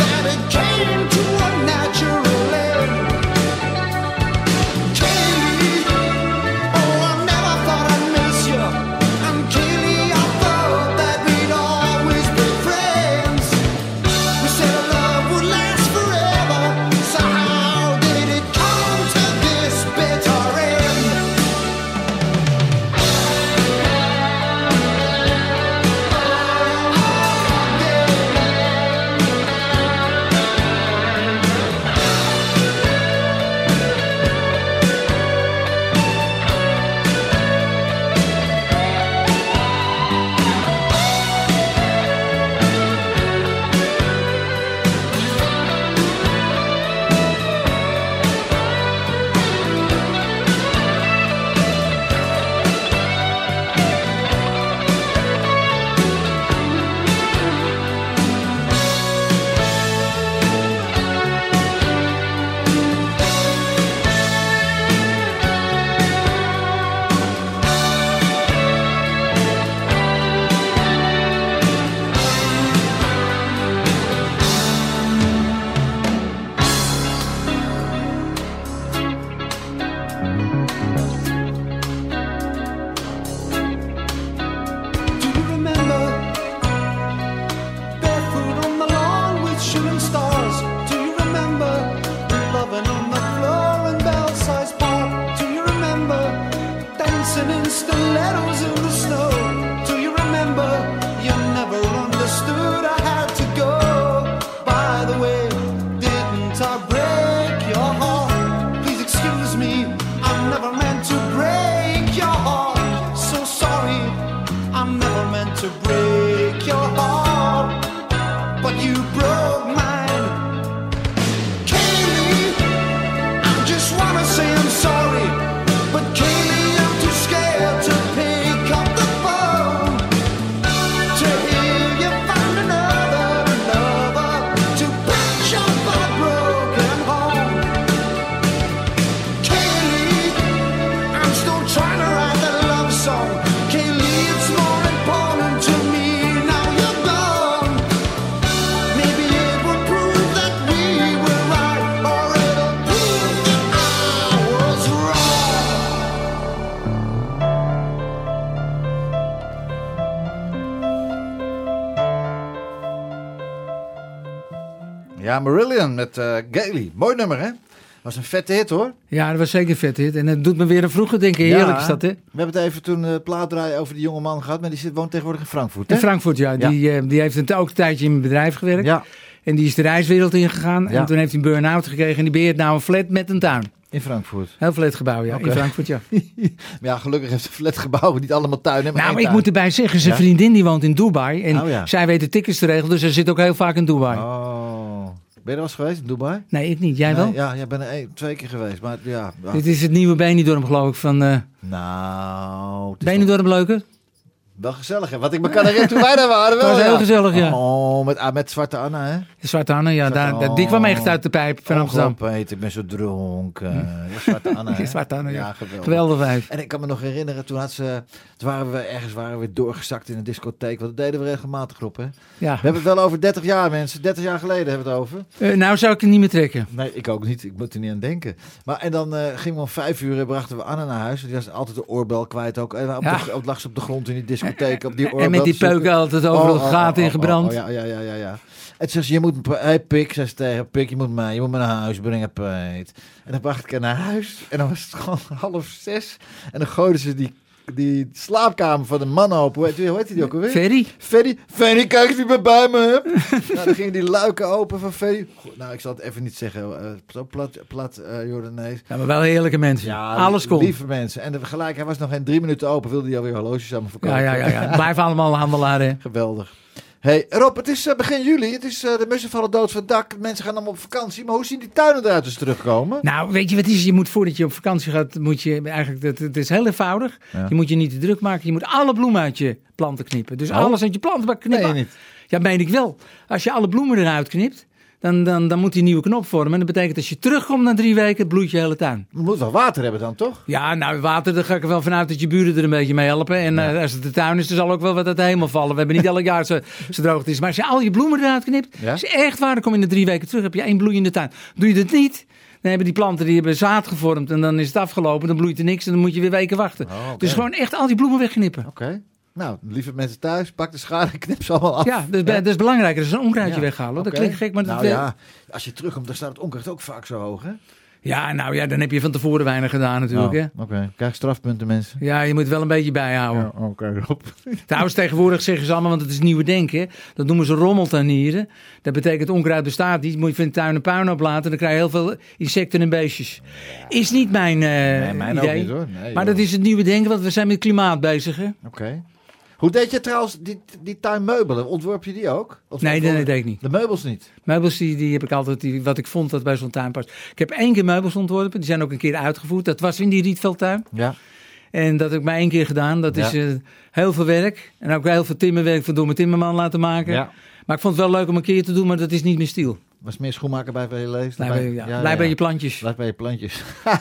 [SPEAKER 11] that it came to a natural end. Katie, Oh, I never thought I'd miss you. And Kaylee, I thought that we
[SPEAKER 2] Ja, Marillion met eh Gailey. Mooi nummer, hè? Was een vette hit, hoor.
[SPEAKER 6] Ja, dat was zeker vet dit. En het doet me weer een vroege denken.
[SPEAKER 2] Ja.
[SPEAKER 6] Heerlijk is dat, hè?
[SPEAKER 2] We hebben het even toen eh plaat draaien over die jonge man gehad, maar die zit, woont tegenwoordig in Frankfurt.
[SPEAKER 6] In
[SPEAKER 2] Hè?
[SPEAKER 6] Frankfurt, ja.
[SPEAKER 2] Ja.
[SPEAKER 6] Die, eh, die heeft een, ook een tijdje in een bedrijf gewerkt.
[SPEAKER 2] Ja.
[SPEAKER 6] En die is de reiswereld ingegaan.
[SPEAKER 2] Ja.
[SPEAKER 6] En toen heeft hij een burn-out gekregen. En die beheert nou een flat met een tuin.
[SPEAKER 2] In Frankfurt.
[SPEAKER 6] Heel flat gebouw, ja.
[SPEAKER 2] Oké.
[SPEAKER 6] In Frankfurt, ja.
[SPEAKER 2] Maar ja, gelukkig heeft ze flatgebouwen niet allemaal tuinen. Maar
[SPEAKER 6] Nou,
[SPEAKER 2] één
[SPEAKER 6] maar ik
[SPEAKER 2] tuin.
[SPEAKER 6] moet erbij zeggen, zijn
[SPEAKER 2] Ja?
[SPEAKER 6] vriendin die woont in Dubai. En
[SPEAKER 2] Oh, ja.
[SPEAKER 6] zij weet de tickets te regelen, dus zij zit ook heel vaak in Dubai.
[SPEAKER 2] Oh. Ben je er wel eens geweest in Dubai?
[SPEAKER 6] Nee, ik niet. Jij
[SPEAKER 2] Nee,
[SPEAKER 6] wel?
[SPEAKER 2] Ja, ik ben er één- twee keer geweest. Maar ja, ja.
[SPEAKER 6] Dit is het nieuwe Benidorm, geloof ik. Van, eh
[SPEAKER 2] nou, het is
[SPEAKER 6] Benidorm leuker?
[SPEAKER 2] toch wel gezellig. Hè? Wat ik me kan herinneren toen wij daar waren.
[SPEAKER 6] Het
[SPEAKER 2] Wel,
[SPEAKER 6] was heel
[SPEAKER 2] ja.
[SPEAKER 6] gezellig, ja.
[SPEAKER 2] Oh, met, ah, met Zwarte Anna, hè?
[SPEAKER 6] De Zwarte Anne, ja. Daar,
[SPEAKER 2] Anne.
[SPEAKER 6] daar- die kwam echt uit de pijp van Amsterdam.
[SPEAKER 2] Oh, Peter, ik ben zo dronken. Ja, Zwarte Anna, hè?
[SPEAKER 6] Zwarte Anne, ja.
[SPEAKER 2] geweldig.
[SPEAKER 6] Geweldig wijf.
[SPEAKER 2] En ik kan me nog herinneren, toen had ze, toen waren we ergens waren we doorgezakt in een discotheek. Want dat deden we regelmatig op, hè? We
[SPEAKER 6] Ja.
[SPEAKER 2] hebben het wel over 30 jaar, mensen. 30 jaar geleden hebben we het over.
[SPEAKER 6] Eh, nou zou ik het niet meer trekken.
[SPEAKER 2] Nee, ik ook niet. Ik moet er niet aan denken. Maar en dan eh, gingen we om vijf uur en brachten we Anna naar huis. Die was altijd de oorbel kwijt ook. En op de
[SPEAKER 6] Ja.
[SPEAKER 2] gr- op, lag ze op de grond in die discotheek op die oorbel.
[SPEAKER 6] En met die
[SPEAKER 2] te zoeken.
[SPEAKER 6] peuken altijd overal
[SPEAKER 2] Oh, oh,
[SPEAKER 6] gaten
[SPEAKER 2] oh,
[SPEAKER 6] in
[SPEAKER 2] oh,
[SPEAKER 6] gebrand.
[SPEAKER 2] oh, ja, ja, ja, ja, ja. En ze zei, je moet, hé hey, Pik, zei ze tegen Pik, je moet, mij, je moet me naar huis brengen, Peet. En dan bracht ik haar naar huis. En dan was het gewoon half zes. En dan gooiden ze die, die slaapkamer van de man open. Hoe heet- hoe heet die ook alweer?
[SPEAKER 6] Ferry?
[SPEAKER 2] Ferry, Ferry, kijk eens wie bij, bij me hebt. nou, dan gingen die luiken open van Ferry. Goed, nou, ik zal het even niet zeggen. eh, zo plat, plat eh Jordanees.
[SPEAKER 6] Ja, maar wel heerlijke mensen. Alles
[SPEAKER 2] li-
[SPEAKER 6] kon.
[SPEAKER 2] Lieve mensen. En de- gelijk, hij was nog geen drie minuten open. Wilde hij alweer horloges aan me verkopen.
[SPEAKER 6] Ja, ja, ja, ja. Blijf allemaal handelaren. hè.
[SPEAKER 2] Geweldig. hey, Rob, het is eh, begin juli. Het is, eh, de mussen vallen dood van het dak. Mensen gaan allemaal op vakantie. Maar hoe zien die tuinen eruit als ze terugkomen?
[SPEAKER 6] Nou, weet je wat het is? Je moet voordat je op vakantie gaat, moet je eigenlijk, dat, het is heel eenvoudig.
[SPEAKER 2] Ja.
[SPEAKER 6] Je moet je niet te druk maken. Je moet alle bloemen uit je planten knippen. Dus
[SPEAKER 2] Oh.
[SPEAKER 6] alles uit je plantenbak knippen.
[SPEAKER 2] Nee, niet.
[SPEAKER 6] Ja, meen ik wel. Als je alle bloemen eruit knipt, dan, dan, dan moet die een nieuwe knop vormen. En dat betekent als je terugkomt na drie weken, bloeit je hele tuin.
[SPEAKER 2] Je moet wel water hebben dan, toch?
[SPEAKER 6] Ja, nou, water, daar ga ik er wel vanuit dat je buren er een beetje mee helpen. En eh, als het de tuin is, dan zal ook wel wat uit de hemel vallen. We hebben niet elk jaar zo, zo droog het is. Maar als je al je bloemen eruit knipt,
[SPEAKER 2] Ja?
[SPEAKER 6] is echt waar. Dan kom je in de drie weken terug, heb je één bloeiende tuin. Doe je dat niet, dan hebben die planten die hebben zaad gevormd. En dan is het afgelopen, dan bloeit er niks en dan moet je weer weken wachten.
[SPEAKER 2] Oh, oké.
[SPEAKER 6] Dus gewoon echt al die bloemen wegknippen.
[SPEAKER 2] Oké. Nou, lieve mensen thuis, pak de schaar en knip ze allemaal af.
[SPEAKER 6] Ja, dat is, be- dat is belangrijk. Dat is een onkruidje
[SPEAKER 2] Ja,
[SPEAKER 6] weghalen. hoor. Dat
[SPEAKER 2] oké.
[SPEAKER 6] klinkt gek, maar dat,
[SPEAKER 2] nou,
[SPEAKER 6] eh,
[SPEAKER 2] ja, als je terugkomt, dan staat het onkruid ook vaak zo hoog, hè?
[SPEAKER 6] ja, nou ja, dan heb je van tevoren weinig gedaan natuurlijk. Hè?
[SPEAKER 2] Oh, Oké, krijg strafpunten, mensen.
[SPEAKER 6] Ja, je moet wel een beetje bijhouden.
[SPEAKER 2] oh, oké, Rob.
[SPEAKER 6] Trouwens, tegenwoordig zeggen ze allemaal, want het is nieuwe denken. Dat noemen ze rommeltuinieren. Dat betekent onkruid bestaat niet. Moet je van de tuin een puin oplaten. Dan krijg je heel veel insecten en beestjes. Is niet mijn, eh
[SPEAKER 2] Nee, mijn
[SPEAKER 6] idee.
[SPEAKER 2] ook niet, hoor. Nee,
[SPEAKER 6] maar
[SPEAKER 2] joh.
[SPEAKER 6] dat is het nieuwe denken, want we zijn met klimaat bezig. Hè?
[SPEAKER 2] Oké. Hoe deed je trouwens die, die tuinmeubelen? Ontworp je die ook? Of-
[SPEAKER 6] Nee,
[SPEAKER 2] of-
[SPEAKER 6] nee, nee, deed ik niet.
[SPEAKER 2] De meubels niet?
[SPEAKER 6] Meubels die, die heb ik altijd, die, wat ik vond dat bij zo'n tuin past. Ik heb één keer meubels ontworpen. Die zijn ook een keer uitgevoerd. Dat was in die Rietveldtuin.
[SPEAKER 2] Ja.
[SPEAKER 6] En dat heb ik maar één keer gedaan. Dat is
[SPEAKER 2] Ja.
[SPEAKER 6] eh, heel veel werk. En ook heel veel timmerwerk van door mijn timmerman laten maken.
[SPEAKER 2] Ja.
[SPEAKER 6] Maar ik vond het wel leuk om een keer te doen, maar dat is niet mijn stiel.
[SPEAKER 2] Was meer schoenmaker bij bij je lees.
[SPEAKER 6] Blijf bij, ja, blijf bij je plantjes.
[SPEAKER 2] Blijf bij je plantjes.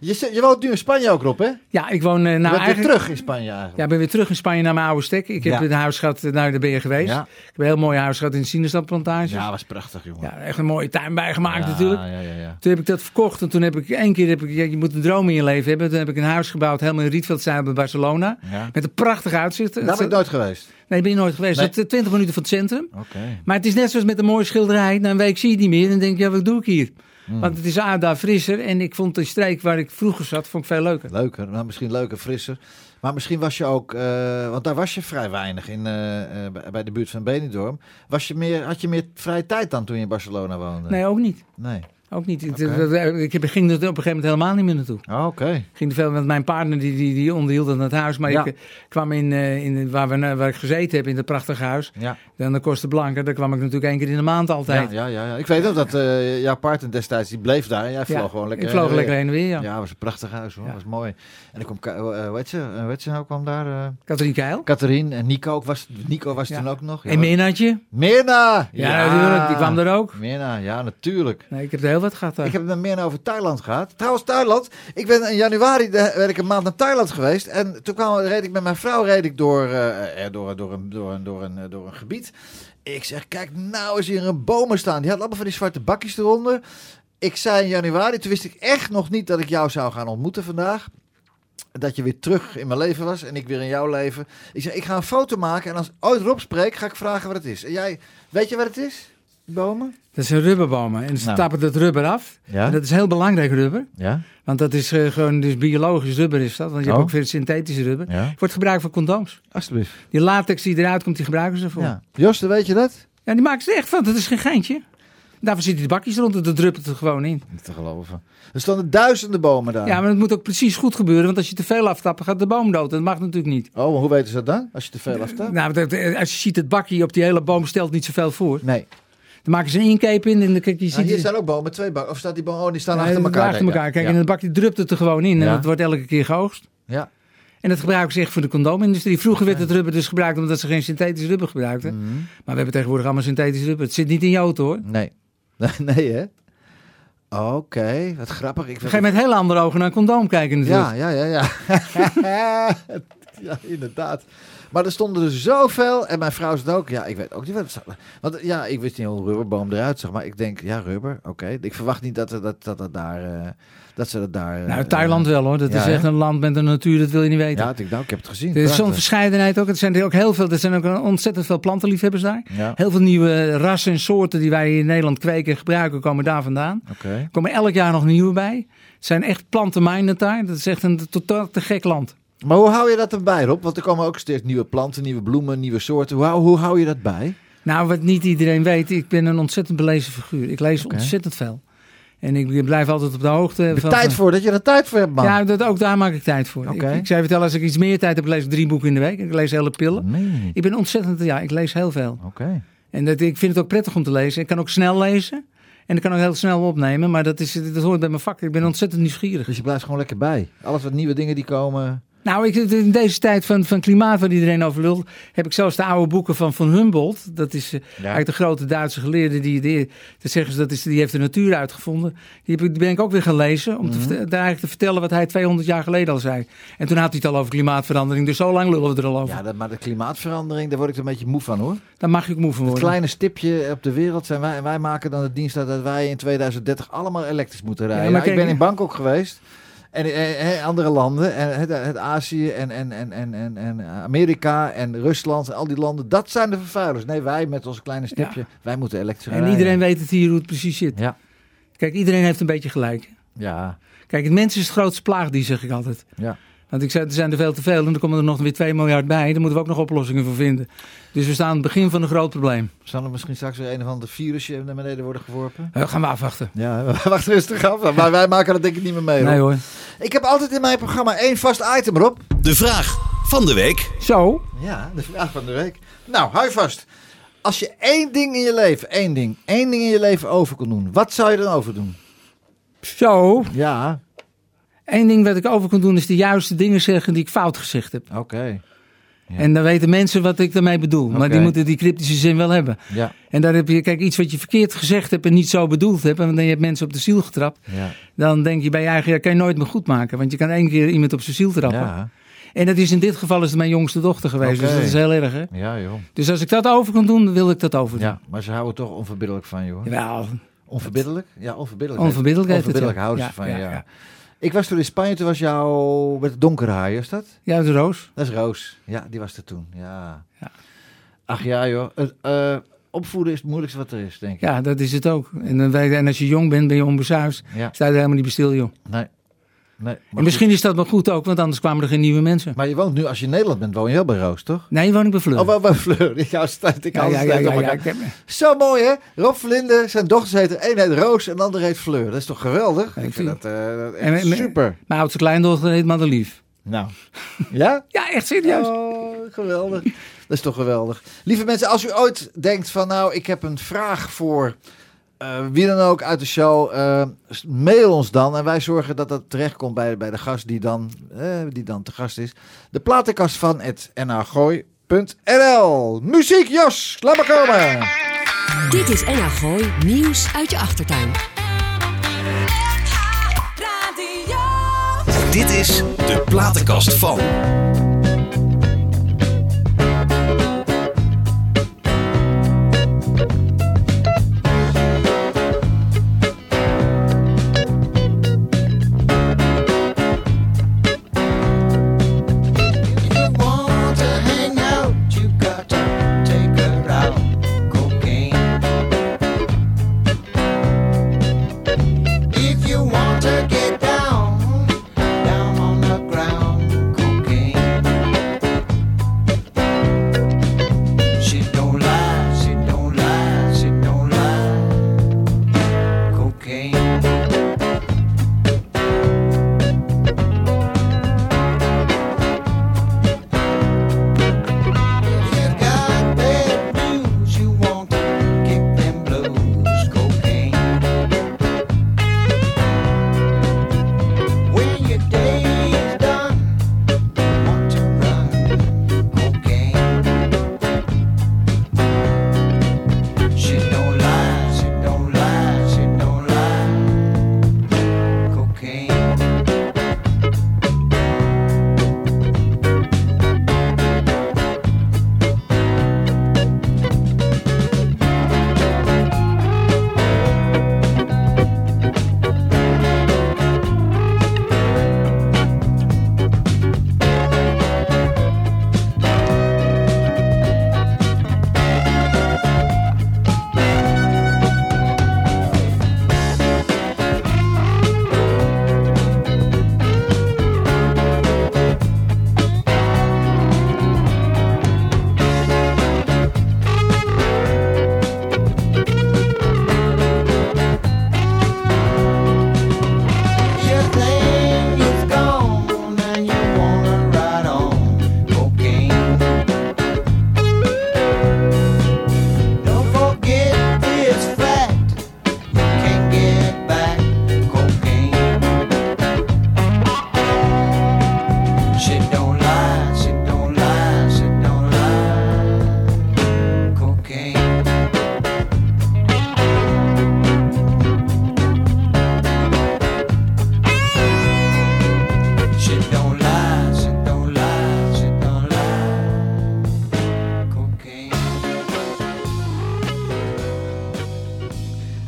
[SPEAKER 2] je, zit- je woont nu in Spanje ook, Rob, hè? Je
[SPEAKER 6] Ja, ik woon eh, nou
[SPEAKER 2] bent
[SPEAKER 6] eigenlijk...
[SPEAKER 2] weer terug in Spanje eigenlijk.
[SPEAKER 6] Ja, ik ben weer terug in Spanje naar mijn oude stek. Ik heb
[SPEAKER 2] Ja.
[SPEAKER 6] een huis gehad, eh, nou daar ben je geweest.
[SPEAKER 2] Ja.
[SPEAKER 6] Ik heb een heel mooi huis gehad in de sinaasappelplantage.
[SPEAKER 2] Ja,
[SPEAKER 6] Ja.
[SPEAKER 2] was prachtig, jongen.
[SPEAKER 6] echt een mooie tuin bijgemaakt
[SPEAKER 2] Ja,
[SPEAKER 6] natuurlijk.
[SPEAKER 2] Ja, ja, ja.
[SPEAKER 6] Toen heb ik dat verkocht en toen heb ik één keer, heb ik, ja, je moet een droom in je leven hebben. Toen heb ik een huis gebouwd, helemaal in Rietveldzuil bij Barcelona.
[SPEAKER 2] Ja.
[SPEAKER 6] Met een prachtig uitzicht.
[SPEAKER 2] Daar ben ik nooit geweest.
[SPEAKER 6] Nee, ben je nooit geweest.
[SPEAKER 2] Nee.
[SPEAKER 6] Dat is 20 minuten van het centrum.
[SPEAKER 2] Oké.
[SPEAKER 6] Maar het is net zoals met een mooie schilderij. Na een week zie je die meer en dan denk je, ja, wat doe ik hier?
[SPEAKER 2] Hmm.
[SPEAKER 6] Want het is A, daar frisser en ik vond de streek waar ik vroeger zat, vond ik veel leuker.
[SPEAKER 2] Leuker, nou, misschien leuker, frisser. Maar misschien was je ook, eh, want daar was je vrij weinig in, eh, eh, bij- bij de buurt van Benidorm. Was je meer, had je meer vrije tijd dan toen je in Barcelona woonde?
[SPEAKER 6] Nee, ook niet.
[SPEAKER 2] Nee.
[SPEAKER 6] Ook niet. Het-
[SPEAKER 2] Oké.
[SPEAKER 6] het- Ik heb- ging er op een gegeven moment helemaal niet meer naartoe.
[SPEAKER 2] Oh, Oké.
[SPEAKER 6] Ik Ging er veel, want mijn partner die, die, die onderhield dan het huis. Maar
[SPEAKER 2] Ja.
[SPEAKER 6] ik eh, kwam in, eh, in waar, we, waar ik gezeten heb, in dat prachtige huis.
[SPEAKER 2] Ja.
[SPEAKER 6] Dan de Costa Blanca, daar kwam ik natuurlijk één keer in de maand
[SPEAKER 2] Ja,
[SPEAKER 6] altijd.
[SPEAKER 2] ja, ja, ja. Ik weet nog dat eh jouw partner destijds, die bleef daar. en Jij vloog
[SPEAKER 6] Ja,
[SPEAKER 2] gewoon lekker
[SPEAKER 6] Ik vloog
[SPEAKER 2] heen en weer.
[SPEAKER 6] lekker heen en weer, ja.
[SPEAKER 2] Ja, was een prachtig huis hoor.
[SPEAKER 6] Ja.
[SPEAKER 2] was mooi. En ik kwam, Ka- eh, hoe heet ze, Eh, hoe heet ze nou, kwam daar? eh,
[SPEAKER 6] Catherine Keil.
[SPEAKER 2] Catherine en Nico ook was, Nico was
[SPEAKER 6] Ja.
[SPEAKER 2] toen ook nog.
[SPEAKER 6] En Minnaatje.
[SPEAKER 2] Mirna!
[SPEAKER 6] Ja, natuurlijk. Die kwam er ook.
[SPEAKER 2] Mirna, ja, natuurlijk.
[SPEAKER 6] Nee, ik heb er heel wat gehad eh. daar.
[SPEAKER 2] Ik heb het met Mirna over Thailand gehad. Trouwens, Thailand. Ik ben in januari de, werd ik een maand naar Thailand geweest. En toen kwam, reed ik met mijn vrouw reed ik door, eh, eh, door, door, een, door, een, door, een, eh, door een gebied. Ik zeg, kijk, nou is hier een bomen staan. Die had allemaal van die zwarte bakjes eronder. Ik zei in januari, toen wist ik echt nog niet dat ik jou zou gaan ontmoeten vandaag. Dat je weer terug in mijn leven was en ik weer in jouw leven. Ik zei, ik ga een foto maken en als ooit Rob spreekt, ga ik vragen wat het is. En jij, weet je wat het is? bomen?
[SPEAKER 6] Dat zijn rubberbomen. En ze
[SPEAKER 2] Nou.
[SPEAKER 6] tappen dat rubber af.
[SPEAKER 2] Ja.
[SPEAKER 6] En dat is heel belangrijk rubber.
[SPEAKER 2] Ja?
[SPEAKER 6] Want dat is eh, gewoon dus biologisch rubber is dat. Want je
[SPEAKER 2] Oh.
[SPEAKER 6] hebt ook weer synthetisch rubber.
[SPEAKER 2] Ja.
[SPEAKER 6] Het Wordt gebruikt voor condooms.
[SPEAKER 2] Alsjeblieft.
[SPEAKER 6] Die latex die eruit komt, die gebruiken ze ervoor.
[SPEAKER 2] Ja. Jos, dan weet je dat?
[SPEAKER 6] Ja, die maken ze er echt van. Dat is geen geintje. Daarvoor zitten die bakjes rond en dat druppelt er gewoon in.
[SPEAKER 2] Niet te geloven. Er stonden duizenden bomen daar.
[SPEAKER 6] Ja, maar het moet ook precies goed gebeuren. Want als je te veel aftapt, dan gaat de boom dood. Dat mag natuurlijk niet.
[SPEAKER 2] Oh, maar hoe weten ze dat dan? Als je te veel aftapt?
[SPEAKER 6] Nou, dat- als je ziet het bakje op die hele boom stelt niet zoveel voor.
[SPEAKER 2] Nee.
[SPEAKER 6] Dan maken ze een inkeep in en dan kijk je
[SPEAKER 2] Nou,
[SPEAKER 6] ziet...
[SPEAKER 2] hier staan ook bomen, twee bomen. Of staat die boom? Oh, die staan
[SPEAKER 6] Nee,
[SPEAKER 2] achter elkaar.
[SPEAKER 6] Achter elkaar. Kijk,
[SPEAKER 2] ja.
[SPEAKER 6] en het bakje drupt het er gewoon in. En
[SPEAKER 2] Ja.
[SPEAKER 6] dat wordt elke keer geoogst.
[SPEAKER 2] Ja.
[SPEAKER 6] En dat gebruiken ze echt voor de condoomindustrie. Vroeger werd het rubber dus gebruikt omdat ze geen synthetisch rubber gebruikten.
[SPEAKER 2] Mhm.
[SPEAKER 6] Maar we hebben tegenwoordig allemaal synthetisch rubber. Het zit niet in je auto hoor. Op
[SPEAKER 2] Nee. Nee, hè? Oké, wat grappig. Ik
[SPEAKER 6] een gegeven moment hele andere ogen naar een condoom kijken natuurlijk.
[SPEAKER 2] Ja, ja, ja, ja. ja, inderdaad. Maar er stonden er zoveel. En mijn vrouw zei ook, ja, ik weet ook niet wat het zou- Want ja, ik wist niet hoe een rubberboom eruit zag. Maar ik denk, ja, rubber, oké. Ik verwacht niet dat, er- dat, dat, dat, daar, eh, dat ze dat daar... eh,
[SPEAKER 6] Nou, Thailand wel hoor. Dat
[SPEAKER 2] Ja,
[SPEAKER 6] is echt
[SPEAKER 2] hè?
[SPEAKER 6] een land met een natuur, dat wil je niet weten.
[SPEAKER 2] Ja, ik, denk, nou, ik heb het gezien.
[SPEAKER 6] er is zo'n
[SPEAKER 2] Prachtig.
[SPEAKER 6] verscheidenheid ook. Er zijn er ook heel veel. Er zijn ook ontzettend veel plantenliefhebbers daar.
[SPEAKER 2] Ja, oké.
[SPEAKER 6] Heel veel nieuwe rassen en soorten die wij in Nederland kweken en gebruiken komen daar vandaan. Er komen elk jaar nog nieuwe bij. Het zijn echt plantenmijnen daar. Dat is echt een totaal te gek land.
[SPEAKER 2] Maar hoe hou je dat dan bij, Rob? Want er komen ook steeds nieuwe planten, nieuwe bloemen, nieuwe soorten. Hoe, hou- hoe hou je dat bij?
[SPEAKER 6] Nou, wat niet iedereen weet, ik ben een ontzettend belezen figuur. Ik lees
[SPEAKER 2] Oké.
[SPEAKER 6] ontzettend veel. En ik blijf altijd op de hoogte.
[SPEAKER 2] Er
[SPEAKER 6] van-
[SPEAKER 2] tijd voor, dat je er tijd voor hebt, man.
[SPEAKER 6] Ja, dat, ook daar maak ik tijd voor.
[SPEAKER 2] Oké.
[SPEAKER 6] Ik, ik zei vertellen, als ik iets meer tijd heb, lees ik drie boeken in de week. Ik lees hele pillen.
[SPEAKER 2] Nee, niet.
[SPEAKER 6] Ik ben ontzettend, ja, ik lees heel veel.
[SPEAKER 2] Oké.
[SPEAKER 6] En dat, ik vind het ook prettig om te lezen. Ik kan ook snel lezen. En ik kan ook heel snel opnemen. Maar dat, is, dat hoort bij mijn vak. Ik ben ontzettend nieuwsgierig.
[SPEAKER 2] Dus je blijft gewoon lekker bij. Alles wat nieuwe dingen die komen.
[SPEAKER 6] Nou, ik, in deze tijd van, van klimaat waar iedereen over lult, heb ik zelfs de oude boeken van Van Humboldt. Dat is eh, eigenlijk de grote Duitse geleerde die, die, dat zeggen ze, dat is, die heeft de natuur uitgevonden. Die, heb, ik- die ben ik ook weer gaan lezen om te
[SPEAKER 2] Mhm.
[SPEAKER 6] verte- daar eigenlijk te vertellen wat hij 200 jaar geleden al zei. En toen had hij het al over klimaatverandering, dus zo lang lullen we er al over.
[SPEAKER 2] Ja, dat, maar de klimaatverandering, daar word ik er een beetje moe van, hoor.
[SPEAKER 6] Daar mag je ook moe van
[SPEAKER 2] Het
[SPEAKER 6] worden.
[SPEAKER 2] kleine stipje op de wereld zijn wij. En wij maken dan de dienst uit dat wij in 2030 allemaal elektrisch moeten rijden.
[SPEAKER 6] maar
[SPEAKER 2] ik
[SPEAKER 6] kijk,
[SPEAKER 2] ben in
[SPEAKER 6] ja.
[SPEAKER 2] Bangkok geweest. En eh, eh, andere landen. En het, het Azië en, en, en, en, en, en Amerika en Rusland. En al die landen. Dat zijn de vervuilers. Nee, wij met ons kleine stipje. Wij moeten elektrisch
[SPEAKER 6] En
[SPEAKER 2] rijden.
[SPEAKER 6] iedereen weet het hier hoe het precies zit.
[SPEAKER 2] Ja.
[SPEAKER 6] Kijk, iedereen heeft een beetje gelijk.
[SPEAKER 2] Ja,
[SPEAKER 6] Kijk, het mens is het grootste plaagdier, zeg ik altijd.
[SPEAKER 2] ja.
[SPEAKER 6] Want ik zei, er zijn er veel te veel en er komen er nog weer 2 miljard bij. Daar moeten we ook nog oplossingen voor vinden. Dus we staan aan het begin van een groot probleem.
[SPEAKER 2] Zal er misschien straks weer een of ander virusje naar beneden worden geworpen?
[SPEAKER 6] We gaan we afwachten.
[SPEAKER 2] Ja, wacht rustig af. Maar wij maken dat denk ik niet meer mee.
[SPEAKER 6] Nee
[SPEAKER 2] hoor.
[SPEAKER 6] hoor.
[SPEAKER 2] Ik heb altijd in mijn programma één vast item, Rob.
[SPEAKER 1] De vraag van de week.
[SPEAKER 6] Zo,
[SPEAKER 2] Ja, de vraag van de week. Nou, hou je vast. Als je één ding in je leven, één ding, één ding in je leven over kon doen, wat zou je dan over doen?
[SPEAKER 6] zo.
[SPEAKER 2] Ja,
[SPEAKER 6] Eén ding wat ik over kan doen is de juiste dingen zeggen die ik fout gezegd heb.
[SPEAKER 2] oké. Ja.
[SPEAKER 6] En dan weten mensen wat ik daarmee bedoel. Maar
[SPEAKER 2] Oké.
[SPEAKER 6] die moeten die cryptische zin wel hebben.
[SPEAKER 2] Ja,
[SPEAKER 6] En daar heb je, kijk, iets wat je verkeerd gezegd hebt en niet zo bedoeld hebt. En dan heb je mensen op de ziel getrapt.
[SPEAKER 2] ja,
[SPEAKER 6] Dan denk je bij je eigen, ja, kan je nooit meer goed maken. Want je kan één keer iemand op zijn ziel trappen.
[SPEAKER 2] ja.
[SPEAKER 6] En dat is in dit geval is het mijn jongste dochter geweest.
[SPEAKER 2] Oké.
[SPEAKER 6] Dus dat is heel erg, hè?
[SPEAKER 2] Ja, joh.
[SPEAKER 6] Dus als ik dat over kan doen, dan wil ik dat over doen.
[SPEAKER 2] Ja, maar ze houden toch onverbiddelijk van je, hoor.
[SPEAKER 6] Jawel,
[SPEAKER 2] Onverbiddelijk? Ja, onverbiddelijk.
[SPEAKER 6] onverbiddelijk heet het,
[SPEAKER 2] Onverbiddelijk
[SPEAKER 6] ja.
[SPEAKER 2] houden
[SPEAKER 6] Ja,
[SPEAKER 2] ze van je,
[SPEAKER 6] ja,
[SPEAKER 2] ja.
[SPEAKER 6] ja.
[SPEAKER 2] Ik was toen in Spanje, toen was jou met donkere haar, is dat?
[SPEAKER 6] ja, de roos.
[SPEAKER 2] Dat is Roos. Ja, die was er toen. Ja.
[SPEAKER 6] Ja.
[SPEAKER 2] Ach ja, joh. Het, eh, opvoeden is het moeilijkste wat er is, denk ik.
[SPEAKER 6] Ja, dat is het ook. En, dan weet- en als je jong bent, ben je onbesuisd.
[SPEAKER 2] Ja.
[SPEAKER 6] Sta je er helemaal niet bij stil, joh.
[SPEAKER 2] Nee. nee maar
[SPEAKER 6] en misschien is dat maar goed ook, want anders kwamen er geen nieuwe mensen.
[SPEAKER 2] goed. Maar je woont nu, als je in Nederland bent, woon je wel bij Roos, toch?
[SPEAKER 6] Nee, woon ik bij Fleur.
[SPEAKER 2] Oh, wel bij Fleur. Ik hou stuit, ik
[SPEAKER 6] ja,
[SPEAKER 2] hou
[SPEAKER 6] ja,
[SPEAKER 2] ja,
[SPEAKER 6] ja, ja, ja,
[SPEAKER 2] elkaar.
[SPEAKER 6] ik heb-
[SPEAKER 2] Zo mooi, hè? Rob Verlinde, zijn dochters heten, een heet Roos en de andere heet Fleur. Dat is toch geweldig?
[SPEAKER 6] ik
[SPEAKER 2] Ik
[SPEAKER 6] zie.
[SPEAKER 2] vind dat, eh, dat
[SPEAKER 6] En
[SPEAKER 2] echt
[SPEAKER 6] mijn-
[SPEAKER 2] super.
[SPEAKER 6] Mijn oudste kleindochter heet Madelief.
[SPEAKER 2] Nou. Ja?
[SPEAKER 6] Ja, echt serieus.
[SPEAKER 2] Oh, geweldig. Dat is toch geweldig. Lieve mensen, als u ooit denkt van nou, ik heb een vraag voor eh, wie dan ook uit de show, eh, mail ons dan. En wij zorgen dat dat terechtkomt bij, bij de gast die dan, eh, die dan te gast is. De platenkast van het nrgooi.nl. Muziek, Jos, laat maar komen.
[SPEAKER 10] Dit is NH Gooi nieuws uit je achtertuin.
[SPEAKER 1] Dit is de platenkast van.
[SPEAKER 11] hang out, you gotta take her out. Cocaine.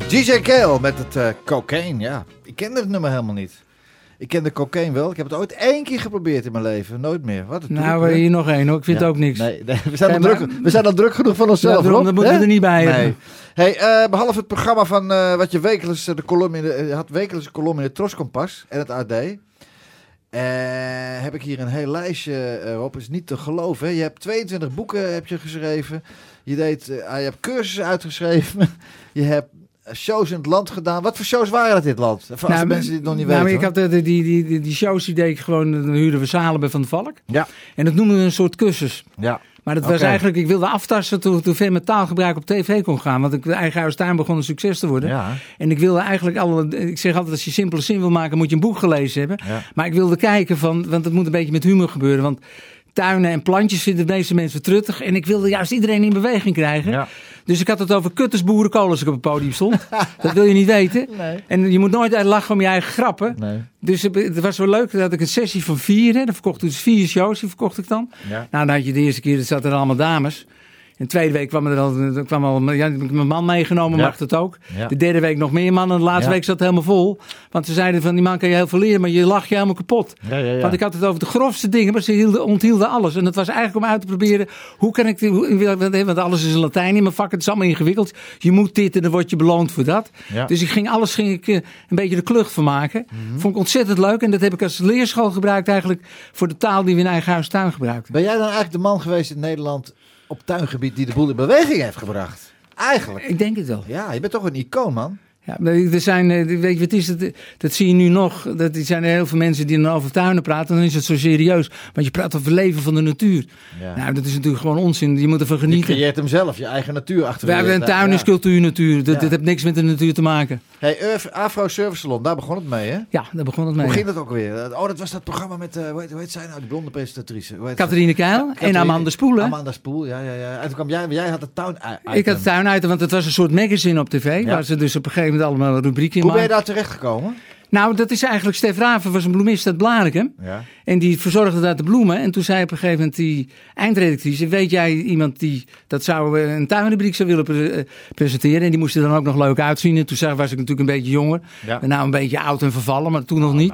[SPEAKER 2] DJ Kale met het eh cocaine, ja. Ik kende het nummer helemaal niet. Ik kende cocaine wel. Ik heb het ooit één keer geprobeerd in mijn leven. Nooit meer. Wat een
[SPEAKER 6] Nou,
[SPEAKER 2] troep,
[SPEAKER 6] we
[SPEAKER 2] hè?
[SPEAKER 6] hier nog één hoor. Ik vind het
[SPEAKER 2] Ja,
[SPEAKER 6] ook niks.
[SPEAKER 2] Nee, nee, we, zijn
[SPEAKER 6] Nee,
[SPEAKER 2] al
[SPEAKER 6] maar-
[SPEAKER 2] druk, we zijn al druk genoeg van onszelf.
[SPEAKER 6] Ja, daarom,
[SPEAKER 2] Rob,
[SPEAKER 6] dat moeten
[SPEAKER 2] hè?
[SPEAKER 6] we er niet bij hebben.
[SPEAKER 2] Hey, eh, behalve het programma van eh, wat je wekelijks eh, de kolom in de, eh, had wekelijks een kolom in het Tros Kompas en het AD. eh, heb ik hier een heel lijstje eh, Rob. Is niet te geloven. Hè? Je hebt 22 boeken heb je geschreven. Je, deed, eh, ah, je hebt cursussen uitgeschreven. je hebt eh, shows in het land gedaan. Wat voor shows waren dat in het land? Voor als de mensen die het nog niet
[SPEAKER 6] nou, maar
[SPEAKER 2] weten.
[SPEAKER 6] ik had de, de- die, die, die, die shows die deed ik gewoon, dan huurden we zalen bij Van de Valk.
[SPEAKER 2] Ja.
[SPEAKER 6] En dat noemden we een soort kussens.
[SPEAKER 2] Ja.
[SPEAKER 6] Maar dat was
[SPEAKER 2] Oké.
[SPEAKER 6] eigenlijk, ik wilde aftasten toen, toen ver mijn taalgebruik op tv kon gaan. Want ik, de eigen huis tuin begon een succes te worden.
[SPEAKER 2] Ja.
[SPEAKER 6] En ik wilde eigenlijk alle, ik zeg altijd als je simpele zin wil maken moet je een boek gelezen hebben.
[SPEAKER 2] Ja.
[SPEAKER 6] Maar ik wilde kijken van, want het moet een beetje met humor gebeuren. Want tuinen en plantjes vinden de meeste mensen truttig. En ik wilde juist iedereen in beweging krijgen. Dus ik had het over kuttersboerenkool als ik op het podium stond. dat wil je niet weten.
[SPEAKER 2] Nee.
[SPEAKER 6] En je moet nooit uit lachen om je eigen grappen.
[SPEAKER 2] Nee.
[SPEAKER 6] Dus het- het was wel leuk dat ik een sessie van vier, hè, dan verkocht ik dus vier shows, die verkocht ik dan.
[SPEAKER 2] Ja.
[SPEAKER 6] Nou, dan had je de eerste keer, er zaten er allemaal dames. En de tweede week kwam er al, kwam al ja, heb ik mijn man meegenomen,
[SPEAKER 2] Ja.
[SPEAKER 6] mag dat ook.
[SPEAKER 2] Ja.
[SPEAKER 6] De derde week nog meer mannen, de laatste
[SPEAKER 2] Ja.
[SPEAKER 6] week zat het helemaal vol. Want ze zeiden van, die man kan je heel veel leren, maar je lacht je helemaal kapot.
[SPEAKER 2] Ja, ja, ja.
[SPEAKER 6] Want ik had het over de grofste dingen, maar ze hielden, onthielden alles. En dat was eigenlijk om uit te proberen, hoe kan ik... die- hoe- want- Want alles is in Latijn in mijn vak, het is allemaal ingewikkeld. Je moet dit en dan word je beloond voor dat.
[SPEAKER 2] Ja. Mhm.
[SPEAKER 6] Dus ik ging alles ging ik, eh, een beetje de klucht van maken. Vond ik ontzettend leuk en dat heb ik als leerschool gebruikt eigenlijk... voor de taal die we in eigen huis tuin gebruikten.
[SPEAKER 2] Ben jij dan eigenlijk de man geweest in Nederland op tuingebied die de boel in beweging heeft gebracht? Eigenlijk.
[SPEAKER 6] Ik denk het wel.
[SPEAKER 2] Ja, je bent toch een icoon, man.
[SPEAKER 6] Ja, maar er zijn, eh, weet je, wat is het? Dat zie je nu nog. Dat er zijn heel veel mensen die dan over tuinen praten. Dan is het zo serieus. Want je praat over het leven van de natuur.
[SPEAKER 2] Ja.
[SPEAKER 6] Nou, dat is natuurlijk gewoon onzin. Je moet ervan genieten.
[SPEAKER 2] Je hebt hem zelf, je eigen natuur achter
[SPEAKER 6] We hebben een tuin is cultuur natuur. Dat,
[SPEAKER 2] Ja.
[SPEAKER 6] dat heeft niks met de natuur te maken.
[SPEAKER 2] Hey, Ur- Afro Service Salon, daar begon het mee, hè?
[SPEAKER 6] Ja, daar begon het mee.
[SPEAKER 2] Hoe ging dat ook weer? Oh, dat was dat programma met, eh hoe, heet, hoe heet zij nou, die blonde presentatrice? Hoe heet
[SPEAKER 6] Catharine
[SPEAKER 2] ze?
[SPEAKER 6] Keil en
[SPEAKER 2] Catharine-
[SPEAKER 6] Amanda Spoel, hè?
[SPEAKER 2] Amanda Spoel, ja, ja, ja. En toen kwam jij, jij had het tuin
[SPEAKER 6] Ik had tuin uit, want het was een soort magazine op tv. Waar ze dus op een gegeven moment allemaal rubrieken in
[SPEAKER 2] Hoe ben je
[SPEAKER 6] maakten.
[SPEAKER 2] daar terechtgekomen?
[SPEAKER 6] Nou, dat is eigenlijk... Stef Raven was een bloemist uit Blarikum.
[SPEAKER 2] Ja.
[SPEAKER 6] En die verzorgde daar de bloemen. En toen zei op een gegeven moment die eindredactrice... weet jij iemand die dat zou, eh, een tuinrubriek zou willen pre- eh, presenteren? En die moest er dan ook nog leuk uitzien. En toen zag, was ik natuurlijk een beetje jonger.
[SPEAKER 2] Ja.
[SPEAKER 6] En nou een beetje oud en vervallen, maar toen nog niet.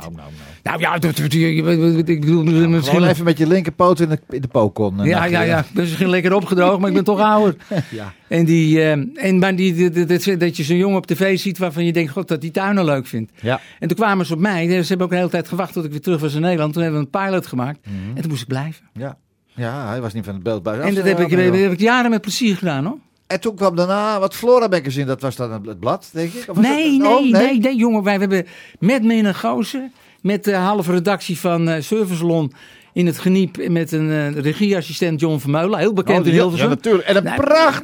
[SPEAKER 6] Nou, ja, dat, dat- je- je- ik bedoel misschien...
[SPEAKER 2] Gewoon even met je linkerpoot in de, in de pokon. eh,
[SPEAKER 6] Ja,
[SPEAKER 2] nachtje,
[SPEAKER 6] ja, ja. Ik ben misschien lekker opgedroogd, maar ik ben toch ouder.
[SPEAKER 2] Ja.
[SPEAKER 6] En, die, eh, en maar die, die- die- dat- dat je zo'n jongen op tv ziet waarvan je denkt... God, dat die tuinen leuk vindt.
[SPEAKER 2] Ja.
[SPEAKER 6] En toen kwamen ze op mij. Ze hebben ook de hele tijd gewacht tot ik weer terug was in Nederland. Toen hebben we een pilot gemaakt.
[SPEAKER 2] Mhm.
[SPEAKER 6] En toen moest ik blijven.
[SPEAKER 2] ja. Ja, hij was niet van het beeld buiten.
[SPEAKER 6] en dat heb ik, dat heb ik jaren met plezier gedaan, hoor.
[SPEAKER 2] En toen kwam daarna wat Flora Magazine, dat was dan het blad, denk ik? Of was
[SPEAKER 6] Nee, nee,
[SPEAKER 2] dat- oh,
[SPEAKER 6] nee, nee, jongen. Wij hebben met Minne Goosen, met de halve redactie van eh Servicelon in het geniep... en met een eh, regieassistent John Vermeulen, heel bekend
[SPEAKER 2] Oh,
[SPEAKER 6] in
[SPEAKER 2] ja,
[SPEAKER 6] Hilversum. Nou,
[SPEAKER 2] Ja, natuurlijk. En een
[SPEAKER 6] Nee.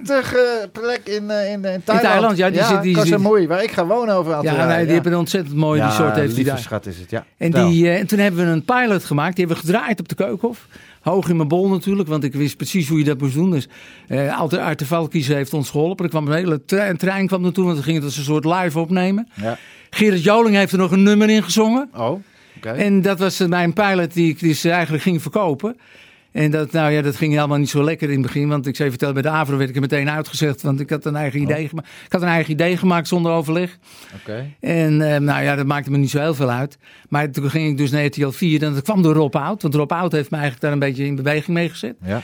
[SPEAKER 2] prachtige plek in, eh, in, in Thailand.
[SPEAKER 6] Thailand, ja, die zit- die
[SPEAKER 2] Koh
[SPEAKER 6] zit-
[SPEAKER 2] Samui, waar ik ga wonen over een aantal
[SPEAKER 6] Ja,
[SPEAKER 2] jaren,
[SPEAKER 6] nee, die hebben een ontzettend mooie
[SPEAKER 2] Ja,
[SPEAKER 6] resort heeft die
[SPEAKER 2] lieve
[SPEAKER 6] daar.
[SPEAKER 2] schat is het, ja.
[SPEAKER 6] En,
[SPEAKER 2] Vertel.
[SPEAKER 6] die, eh, en toen hebben we een pilot gemaakt. Die hebben we gedraaid op de keukenhof. Hoog in mijn bol natuurlijk, want ik wist precies hoe je dat moest doen. Dus eh Alte Arte Valkiezen heeft ons geholpen. Er kwam een hele tre- een trein kwam naartoe, want we gingen het als een soort live opnemen.
[SPEAKER 2] Ja.
[SPEAKER 6] Gerrit Joling heeft er nog een nummer in gezongen.
[SPEAKER 2] Oh, oké.
[SPEAKER 6] En dat was eh, mijn pilot die ik dus eigenlijk ging verkopen. En dat, nou ja, dat ging allemaal niet zo lekker in het begin. Want ik zei vertellen, bij de AVRO werd ik er meteen uitgezegd. Want ik had een eigen, idee, gema- ik had een eigen idee gemaakt zonder overleg.
[SPEAKER 2] Oké.
[SPEAKER 6] En eh, nou ja, dat maakte me niet zo heel veel uit. Maar toen ging ik dus naar RTL 4 en dat kwam door Rob Oud. Want Rob Oud heeft me eigenlijk daar een beetje in beweging mee gezet.
[SPEAKER 2] Ja.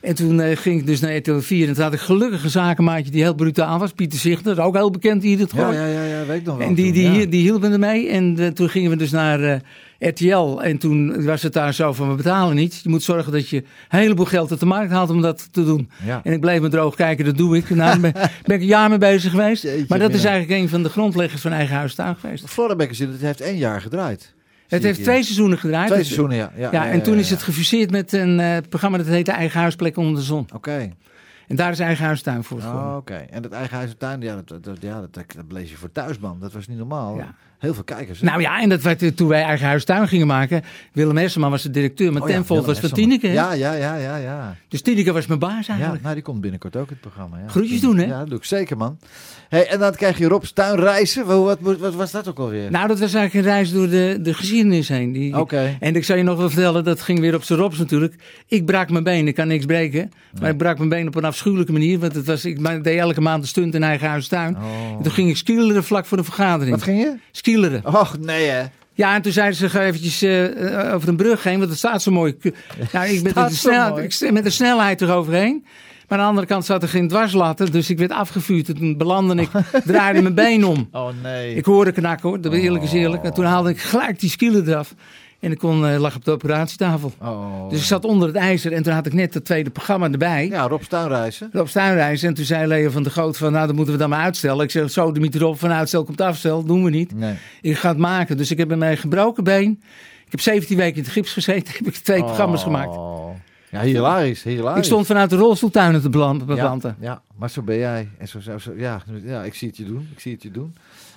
[SPEAKER 6] En toen eh, ging ik dus naar RTL 4 en toen had ik gelukkig een zakenmaatje die heel brutaal was. Pieter Zichter, ook heel bekend hier in het
[SPEAKER 2] Ja,
[SPEAKER 6] gooi.
[SPEAKER 2] ja, ja, ja, weet ik nog wel.
[SPEAKER 6] En die,
[SPEAKER 2] toen,
[SPEAKER 6] die,
[SPEAKER 2] ja.
[SPEAKER 6] hier- die hielp me ermee. En eh, toen gingen we dus naar eh, RTL. En toen was het daar zo van, we betalen niet. Je moet zorgen dat je een heleboel geld uit de markt haalt om dat te doen.
[SPEAKER 2] Ja.
[SPEAKER 6] En ik bleef me droog kijken, dat doe ik. Nou, daar ben, ben ik een jaar mee bezig geweest.
[SPEAKER 2] Jeetje,
[SPEAKER 6] maar dat is
[SPEAKER 2] mina.
[SPEAKER 6] eigenlijk een van de grondleggers van Eigen Huis Tuin geweest.
[SPEAKER 2] Flora Magazine, dat heeft één jaar gedraaid. Zie
[SPEAKER 6] Het
[SPEAKER 2] ik
[SPEAKER 6] heeft
[SPEAKER 2] hier.
[SPEAKER 6] twee seizoenen gedraaid.
[SPEAKER 2] Twee
[SPEAKER 6] Het-
[SPEAKER 2] seizoenen, ja. Ja,
[SPEAKER 6] Ja,
[SPEAKER 2] ja,
[SPEAKER 6] en toen
[SPEAKER 2] ja,
[SPEAKER 6] is het gefuseerd met een eh, programma dat heette Eigen Huisplek onder de zon.
[SPEAKER 2] Oké.
[SPEAKER 6] En daar is Eigen Huis Tuin voor
[SPEAKER 2] Oh,
[SPEAKER 6] gekomen.
[SPEAKER 2] Oké. En het eigen huis en tuin, ja, dat, dat, ja, dat, dat blees je voor thuis, man. Dat was niet normaal.
[SPEAKER 6] Ja.
[SPEAKER 2] Heel veel kijkers. hè?
[SPEAKER 6] Nou ja, en dat werd, toen wij Eigen Huis Tuin gingen maken, Willem Hesseman was de directeur, maar
[SPEAKER 2] Oh ja,
[SPEAKER 6] Tenvold
[SPEAKER 2] Willem
[SPEAKER 6] was van
[SPEAKER 2] Hesselman.
[SPEAKER 6] Tineke. hè?
[SPEAKER 2] Ja, ja, ja, ja, ja.
[SPEAKER 6] Dus Tineke was mijn baas
[SPEAKER 2] Ja,
[SPEAKER 6] eigenlijk.
[SPEAKER 2] nou, die komt binnenkort ook in het programma. Ja.
[SPEAKER 6] Groetjes doen, hè?
[SPEAKER 2] Ja, dat doe ik zeker, man. Hey, en dan krijg je Rob's tuinreizen. Wat, wat, wat, wat was dat ook alweer?
[SPEAKER 6] Nou, dat was eigenlijk een reis door de, de geschiedenis heen. Die,
[SPEAKER 2] Oké.
[SPEAKER 6] En ik zal je nog wel vertellen, dat ging weer op z'n rops natuurlijk. Ik brak mijn been, ik kan niks breken. Maar ik brak mijn been op een afschuwelijke manier. Want het was, ik ma- deed elke maand een stunt in eigen huis tuin. En toen ging ik skileren vlak voor de vergadering.
[SPEAKER 2] Oh. Wat ging je?
[SPEAKER 6] Skileren.
[SPEAKER 2] Och, nee hè.
[SPEAKER 6] Ja, en toen zeiden ze, ga eventjes eh, eh, over een brug heen, want het staat zo mooi. Nou, ik ben met
[SPEAKER 2] Staat
[SPEAKER 6] de,
[SPEAKER 2] zo
[SPEAKER 6] snel-
[SPEAKER 2] mooi.
[SPEAKER 6] ik st- met de snelheid eroverheen. Maar aan de andere kant zat er geen dwarslatten, dus ik werd afgevuurd. En toen belandde ik, draaide mijn been om.
[SPEAKER 2] Oh nee.
[SPEAKER 6] Ik hoorde knakken hoor, dat eerlijk is eerlijk. En
[SPEAKER 2] Oh.
[SPEAKER 6] toen haalde ik gelijk die skillen eraf. En ik kon, eh, lag op de operatietafel.
[SPEAKER 2] Oh.
[SPEAKER 6] Dus ik zat onder het ijzer en toen had ik net het tweede programma erbij.
[SPEAKER 2] Ja, Rob Staanreizen.
[SPEAKER 6] Rob Steinreis. En toen zei Leo van der Goot van, nou, dat moeten we dan maar uitstellen. Ik zeg, zo, Dimitri Rob, van uitstel komt afstel. Doen we niet.
[SPEAKER 2] Nee.
[SPEAKER 6] Ik ga het maken. Dus ik heb mijn gebroken been. Ik heb 17 weken in het gips gezeten. Heb ik twee programma's gemaakt.
[SPEAKER 2] Oh. Ja, hilarisch, hilarisch.
[SPEAKER 6] Ik stond vanuit de rolstoeltuinen te blan- beplanten.
[SPEAKER 2] Ja, ja, maar zo ben jij. En zo, zo, zo- ja, ja, ik zie het je doen. Ik zie het je doen.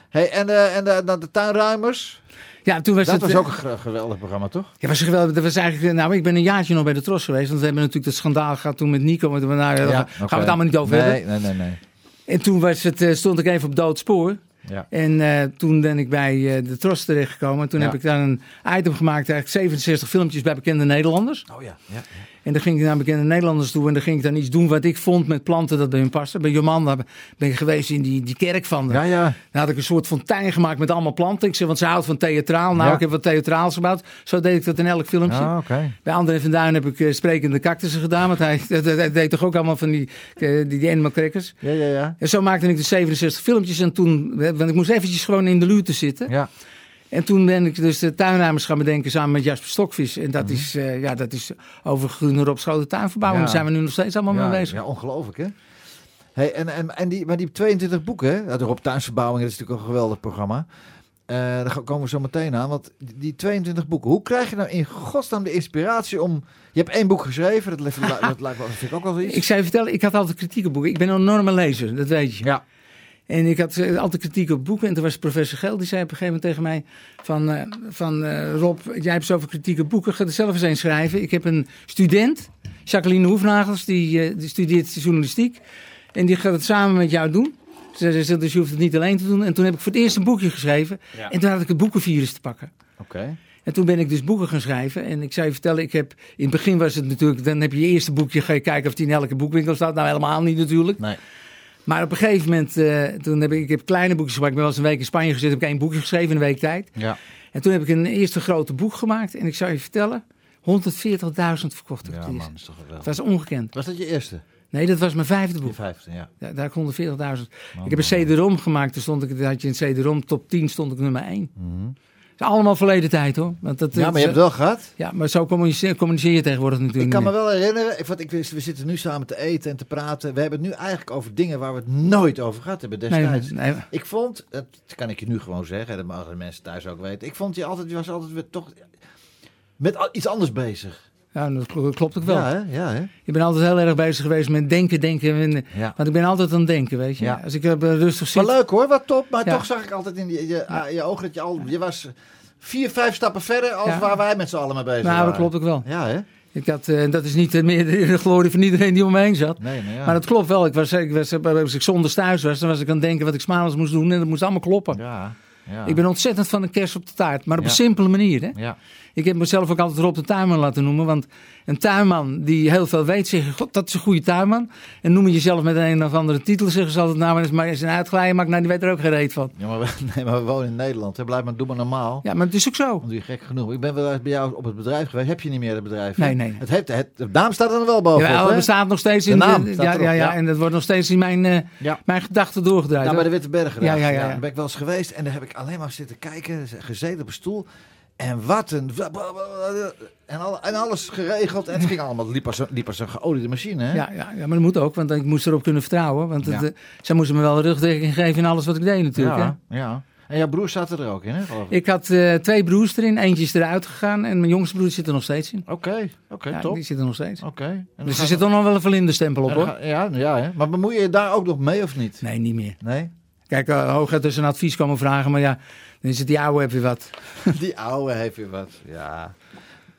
[SPEAKER 2] Hey, en eh, en eh, dan de tuinruimers.
[SPEAKER 6] Ja, toen was
[SPEAKER 2] dat
[SPEAKER 6] het...
[SPEAKER 2] was
[SPEAKER 6] eh,
[SPEAKER 2] ook een gr- geweldig programma, toch?
[SPEAKER 6] ja, was geweldig. Dat was eigenlijk, eh, nou, ik ben een jaartje nog bij de Tros geweest. Want we hebben natuurlijk dat schandaal gehad toen met Nico. Maar toen, nou, daar gaan we
[SPEAKER 2] oké.
[SPEAKER 6] het allemaal niet over hebben.
[SPEAKER 2] Nee, nee, nee. nee.
[SPEAKER 6] En toen was het, eh, stond ik even op doodspoor.
[SPEAKER 2] Ja.
[SPEAKER 6] En eh, toen ben ik bij eh, de Tros terechtgekomen. En toen
[SPEAKER 2] Ja.
[SPEAKER 6] heb ik daar een item gemaakt, eigenlijk 67 filmpjes bij bekende Nederlanders.
[SPEAKER 2] Oh ja. ja.
[SPEAKER 6] En dan ging ik naar bekende Nederlanders toe en dan ging ik dan iets doen wat ik vond met planten dat bij hun paste. Bij Jomanda ben ik geweest in die, die kerk van de.
[SPEAKER 2] Ja, ja.
[SPEAKER 6] Daar had ik een soort fontein gemaakt met allemaal planten. Ik zei, want ze houdt van theatraal. Nou,
[SPEAKER 2] Ja.
[SPEAKER 6] ik heb wat theatraals gebouwd. Zo deed ik dat in elk filmpje.
[SPEAKER 2] Ah, oké.
[SPEAKER 6] Bij André van Duin heb ik eh, sprekende cactussen gedaan. Want hij, dat- dat- hij deed toch ook allemaal van die, eh, die, die animal crackers.
[SPEAKER 2] Ja, ja, ja.
[SPEAKER 6] En zo maakte ik de 67 filmpjes. En toen, eh, want ik moest eventjes gewoon in de luwte zitten.
[SPEAKER 2] Ja.
[SPEAKER 6] En toen ben ik dus de tuinruimers gaan bedenken samen met Jasper Stokvis. En dat, is, eh, ja, dat is over groene Rob Schoten tuinverbouwing.
[SPEAKER 2] Mhm. Ja.
[SPEAKER 6] Daar zijn we nu nog steeds allemaal
[SPEAKER 2] ja,
[SPEAKER 6] mee bezig.
[SPEAKER 2] ja, ongelooflijk, hè? Hey, en, en, en die, maar die 22 boeken, hè? Ja, de Rob Tuinsverbouwing, dat is natuurlijk een geweldig programma. Eh, daar gaan- komen we zo meteen aan. Want die die 22 boeken, hoe krijg je nou in godsnaam de inspiratie om... Je hebt één boek geschreven, dat, lijkt- dat, lijkt wel- vind ik ook wel iets.
[SPEAKER 6] Ik zou je vertellen, ik had altijd kritiek op boeken. Ik ben een enorme lezer, dat weet je.
[SPEAKER 2] Ja.
[SPEAKER 6] En ik had eh, altijd kritiek op boeken. En toen was professor Geel, die zei op een gegeven moment tegen mij... van, eh, van eh, Rob, jij hebt zoveel kritiek op boeken. Ga er zelf eens een schrijven. Ik heb een student, Jacqueline Hoefnagels, die, eh, die studeert journalistiek. En die gaat het samen met jou doen. Ze zei, ze- dus je hoeft het niet alleen te doen. En toen heb ik voor het eerst een boekje geschreven.
[SPEAKER 2] Ja.
[SPEAKER 6] En toen had ik het boekenvirus te pakken.
[SPEAKER 2] Oké.
[SPEAKER 6] En toen ben ik dus boeken gaan schrijven. En ik zou je vertellen, ik heb, in het begin was het natuurlijk... dan heb je je eerste boekje, ga je kijken of die in elke boekwinkel staat. Nou, helemaal niet natuurlijk.
[SPEAKER 2] Nee.
[SPEAKER 6] Maar op een gegeven moment, eh, toen heb ik, ik heb kleine boekjes gemaakt. Ik ben wel eens een week in Spanje gezeten, heb ik één boekje geschreven in een week tijd.
[SPEAKER 2] Ja.
[SPEAKER 6] En toen heb ik een eerste grote boek gemaakt. En ik zou je vertellen, 140.000 verkocht. op het eerste.
[SPEAKER 2] Ja, man, is toch geweldig.
[SPEAKER 6] Dat is ongekend.
[SPEAKER 2] Was dat je eerste?
[SPEAKER 6] Nee, dat was mijn vijfde boek.
[SPEAKER 2] Je vijfde, ja.
[SPEAKER 6] Ja, daar kon 140.000.
[SPEAKER 2] Oh,
[SPEAKER 6] ik heb een CD-ROM gemaakt. Toen stond ik, toen had je een CD-ROM top 10, stond ik nummer 1. Dat is allemaal verleden tijd hoor. Want dat,
[SPEAKER 2] Mhm. Ja, maar je hebt het wel gehad.
[SPEAKER 6] ja, maar zo communiceer, communiceer je tegenwoordig natuurlijk
[SPEAKER 2] Ik kan me
[SPEAKER 6] niet
[SPEAKER 2] wel herinneren, ik, want ik, wist- we zitten nu samen te eten en te praten. We hebben het nu eigenlijk over dingen waar we het nooit over gehad hebben
[SPEAKER 6] meer.
[SPEAKER 2] destijds.
[SPEAKER 6] Nee, nee.
[SPEAKER 2] Ik vond, dat kan ik je nu gewoon zeggen, dat mogen de mensen thuis ook weten. Ik vond je altijd, je was altijd weer toch met al- iets anders bezig.
[SPEAKER 6] Ja, dat kl- klopt ook wel.
[SPEAKER 2] Ja, hè? Ja, hè?
[SPEAKER 6] Ik ben altijd heel erg bezig geweest met denken, denken. En,
[SPEAKER 2] Ja.
[SPEAKER 6] Want ik ben altijd aan het denken, weet je.
[SPEAKER 2] Ja.
[SPEAKER 6] Als ik eh, rustig
[SPEAKER 2] Maar
[SPEAKER 6] zit.
[SPEAKER 2] leuk hoor, wat top. Maar
[SPEAKER 6] Ja.
[SPEAKER 2] toch zag ik altijd in je, je, ah, je ogen dat je al, je was vier, vijf stappen verder als
[SPEAKER 6] Ja.
[SPEAKER 2] waar wij met z'n allen mee bezig
[SPEAKER 6] Nou,
[SPEAKER 2] waren.
[SPEAKER 6] dat klopt ook wel.
[SPEAKER 2] Ja, hè?
[SPEAKER 6] Ik had, eh, dat is niet eh, meer de de glorie van iedereen die om me heen zat.
[SPEAKER 2] Nee, maar ja.
[SPEAKER 6] Maar dat klopt wel. Ik was, ik was, eh, als ik zondags thuis was, dan was ik aan het denken wat ik s'maandags moest doen. En dat moest allemaal kloppen.
[SPEAKER 2] Ja, ja.
[SPEAKER 6] Ik ben ontzettend van de kerst op de taart. Maar op
[SPEAKER 2] Ja.
[SPEAKER 6] een simpele manier, hè.
[SPEAKER 2] Ja,
[SPEAKER 6] Ik heb mezelf ook altijd Rob de tuinman laten noemen. Want een tuinman die heel veel weet, zeggen God, dat is een goede tuinman. En noem je jezelf met een of andere titel, zeggen ze altijd, nou, maar dat is maar eens een uitglijden, maar nou, die weet er ook geen reet van.
[SPEAKER 2] ja maar, we, nee, maar we wonen in Nederland. Hè. Blijf maar, doe maar normaal.
[SPEAKER 6] Ja, maar het is ook zo.
[SPEAKER 2] Want die gek genoeg. Ik ben wel eens bij jou op het bedrijf geweest. Heb je niet meer het bedrijf? hè?
[SPEAKER 6] Nee, nee, nee.
[SPEAKER 2] Het, heeft, het, de naam staat er dan wel bovenop.
[SPEAKER 6] Ja,
[SPEAKER 2] Oh,
[SPEAKER 6] oh,
[SPEAKER 2] hè?
[SPEAKER 6] het bestaat nog steeds
[SPEAKER 2] De
[SPEAKER 6] in
[SPEAKER 2] naam
[SPEAKER 6] ja,
[SPEAKER 2] staat
[SPEAKER 6] ja,
[SPEAKER 2] erop,
[SPEAKER 6] ja,
[SPEAKER 2] ja.
[SPEAKER 6] en dat wordt nog steeds in mijn, eh,
[SPEAKER 2] Ja.
[SPEAKER 6] mijn gedachten doorgedraaid.
[SPEAKER 2] Ja, bij
[SPEAKER 6] hoor.
[SPEAKER 2] de Witte Bergen. Ja, ja, ja,
[SPEAKER 6] ja.
[SPEAKER 2] Daar ben ik wel eens geweest en daar heb ik alleen maar zitten kijken, gezeten op een stoel. En wat een. En, al, en alles geregeld. En het ging allemaal. Het liep als een, liep als een geoliede machine. Hè?
[SPEAKER 6] ja, ja, ja, maar dat moet ook, want ik moest erop kunnen vertrouwen. Want het,
[SPEAKER 2] Ja.
[SPEAKER 6] eh, zij moesten me wel rugdekking geven in alles wat ik deed natuurlijk. hè.
[SPEAKER 2] ja, ja. En jouw broer zat er ook in, hè? geloof ik?
[SPEAKER 6] Ik had eh, twee broers erin, eentje is eruit gegaan en mijn jongste broer zit er nog steeds in.
[SPEAKER 2] Oké, oké,
[SPEAKER 6] Ja,
[SPEAKER 2] top.
[SPEAKER 6] die
[SPEAKER 2] Oké.
[SPEAKER 6] zit er nog steeds.
[SPEAKER 2] En dan
[SPEAKER 6] Dus
[SPEAKER 2] gaan
[SPEAKER 6] er zit toch nog wel een verlinderstempel
[SPEAKER 2] we-
[SPEAKER 6] op
[SPEAKER 2] en dan
[SPEAKER 6] hoor.
[SPEAKER 2] gaan- Ja, ja, hè? Maar bemoei je je daar ook nog mee of niet?
[SPEAKER 6] Nee, niet meer.
[SPEAKER 2] Nee?
[SPEAKER 6] Kijk, eh, hooguit dus een advies komen vragen, maar ja, dan is het die oude heb je wat.
[SPEAKER 2] Die ouwe heeft weer wat. Ja.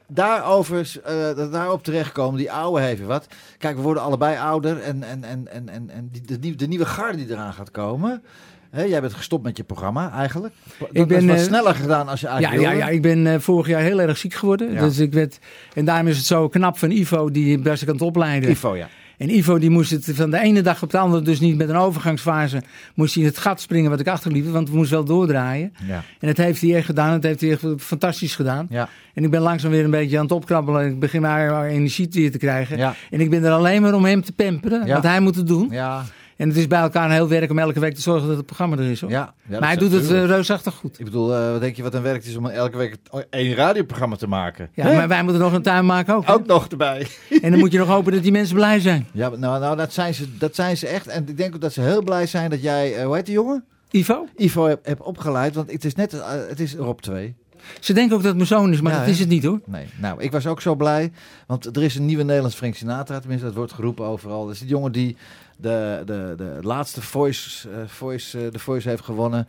[SPEAKER 2] Daarover, eh, dat daarop terechtkomen, die ouwe heeft weer wat. Kijk, we worden allebei ouder en, en, en, en, en, en die, de, nieuw- de nieuwe garde die eraan gaat komen. Hè, jij bent gestopt met je programma eigenlijk. Dat ik ben,
[SPEAKER 6] ben,
[SPEAKER 2] wat
[SPEAKER 6] eh,
[SPEAKER 2] sneller gedaan als je
[SPEAKER 6] Ja,
[SPEAKER 2] eigenlijk
[SPEAKER 6] ja,
[SPEAKER 2] wilde.
[SPEAKER 6] ja, ik ben eh, vorig jaar heel erg ziek geworden.
[SPEAKER 2] Ah, Ja.
[SPEAKER 6] Dus ik werd, en daarom is het zo knap van Ivo, die was ik aan het opleiden.
[SPEAKER 2] Ivo, ja.
[SPEAKER 6] En Ivo die moest het van de ene dag op de andere, dus niet met een overgangsfase, moest hij in het gat springen wat ik achterliep. Want we moesten wel doordraaien.
[SPEAKER 2] Ja.
[SPEAKER 6] En dat heeft hij echt gedaan. Dat heeft hij echt fantastisch gedaan.
[SPEAKER 2] Ja.
[SPEAKER 6] En ik ben langzaam weer een beetje aan het opkrabbelen. Ik begin maar energie weer te krijgen.
[SPEAKER 2] Ja.
[SPEAKER 6] En ik ben er alleen maar om hem te pamperen.
[SPEAKER 2] Ja.
[SPEAKER 6] Want hij moet het doen.
[SPEAKER 2] Ja.
[SPEAKER 6] En het is bij elkaar een heel werk om elke week te zorgen dat het programma er is. Hoor.
[SPEAKER 2] Ja, dat
[SPEAKER 6] maar hij
[SPEAKER 2] is
[SPEAKER 6] doet het eh,
[SPEAKER 2] natuurlijk.
[SPEAKER 6] reusachtig goed.
[SPEAKER 2] Ik bedoel, eh, wat denk je wat een werk het is om elke week één radioprogramma te maken?
[SPEAKER 6] Ja,
[SPEAKER 2] Hè? Oh.
[SPEAKER 6] maar wij moeten nog een tuin maken ook. hè?
[SPEAKER 2] Ook nog erbij.
[SPEAKER 6] En dan moet je nog hopen dat die mensen blij zijn.
[SPEAKER 2] Ja, maar nou, nou dat, zijn ze, dat zijn ze echt. En ik denk ook dat ze heel blij zijn dat jij, eh, hoe heet die jongen?
[SPEAKER 6] Ivo?
[SPEAKER 2] Ivo heb, heb opgeleid, want het is net, eh, het is Rob 2.
[SPEAKER 6] Ze denken ook dat het mijn zoon is, maar
[SPEAKER 2] Ja,
[SPEAKER 6] dat
[SPEAKER 2] hè?
[SPEAKER 6] is het niet hoor.
[SPEAKER 2] Nee, nou, ik was ook zo blij, want er is een nieuwe Nederlands Frank Sinatra, tenminste, dat wordt geroepen overal. Dat is die jongen die de, de, de laatste voice, eh, voice, eh, de voice heeft gewonnen.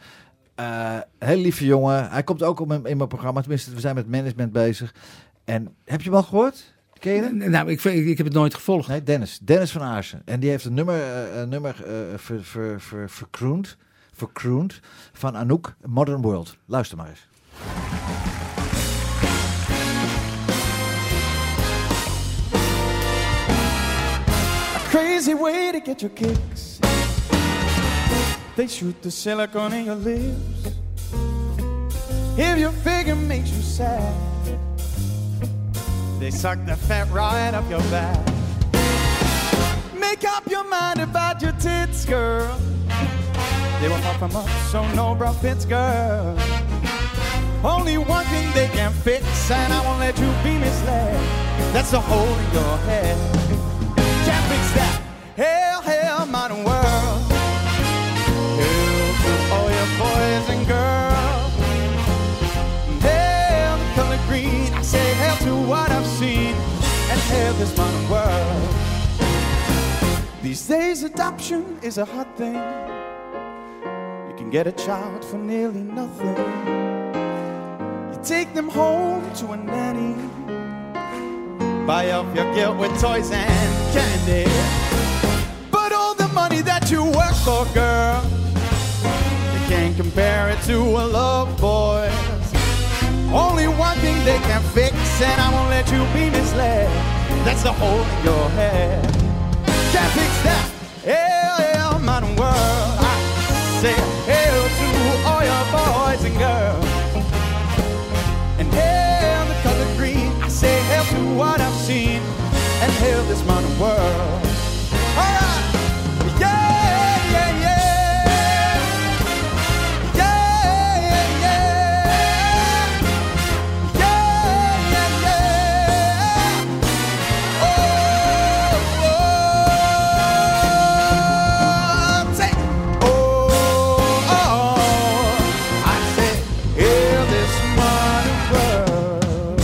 [SPEAKER 2] Eh, heel lieve jongen, hij komt ook op mijn- in mijn programma, tenminste, we zijn met management bezig. En heb je hem al gehoord? Ken je hem?
[SPEAKER 6] Nou, ik, ik heb het nooit gevolgd.
[SPEAKER 2] Nee, Dennis. Dennis van Aarsen. En die heeft een nummer, eh, een nummer eh, ver, ver, ver, verkroend, verkroend van Anouk, Modern World. Luister maar eens.
[SPEAKER 12] crazy way to get your kicks. They shoot the silicone in your lips. If your figure makes you sad, they suck the fat right up your back. Make up your mind about your tits, girl. They will pop 'em up so no bra fits, girl. Only one thing they can fix, and I won't let you be misled. That's the hole in your head. Can't fix that. Hell, hell, modern world. Hell to all your boys and girls. Hell, the color green. I say hell to what I've seen, and hell this modern world. These days, adoption is a hot thing. You can get a child for nearly nothing. You take them home to a nanny. Buy up your guilt with toys and candy. But all the money that you work for, girl, you can't compare it to a love boy. Only one thing they can fix, and I won't let you be misled. That's the hole in your head. Can't fix that. Hell, hell, modern world. I say hell to all your boys and girls. And hell, the color green. I say hell to what I've seen. And hell, this modern world. All right. Yeah, yeah, yeah. Yeah, yeah, yeah. Yeah, yeah, yeah. Oh, oh, take- oh, oh. I say, hear this modern world.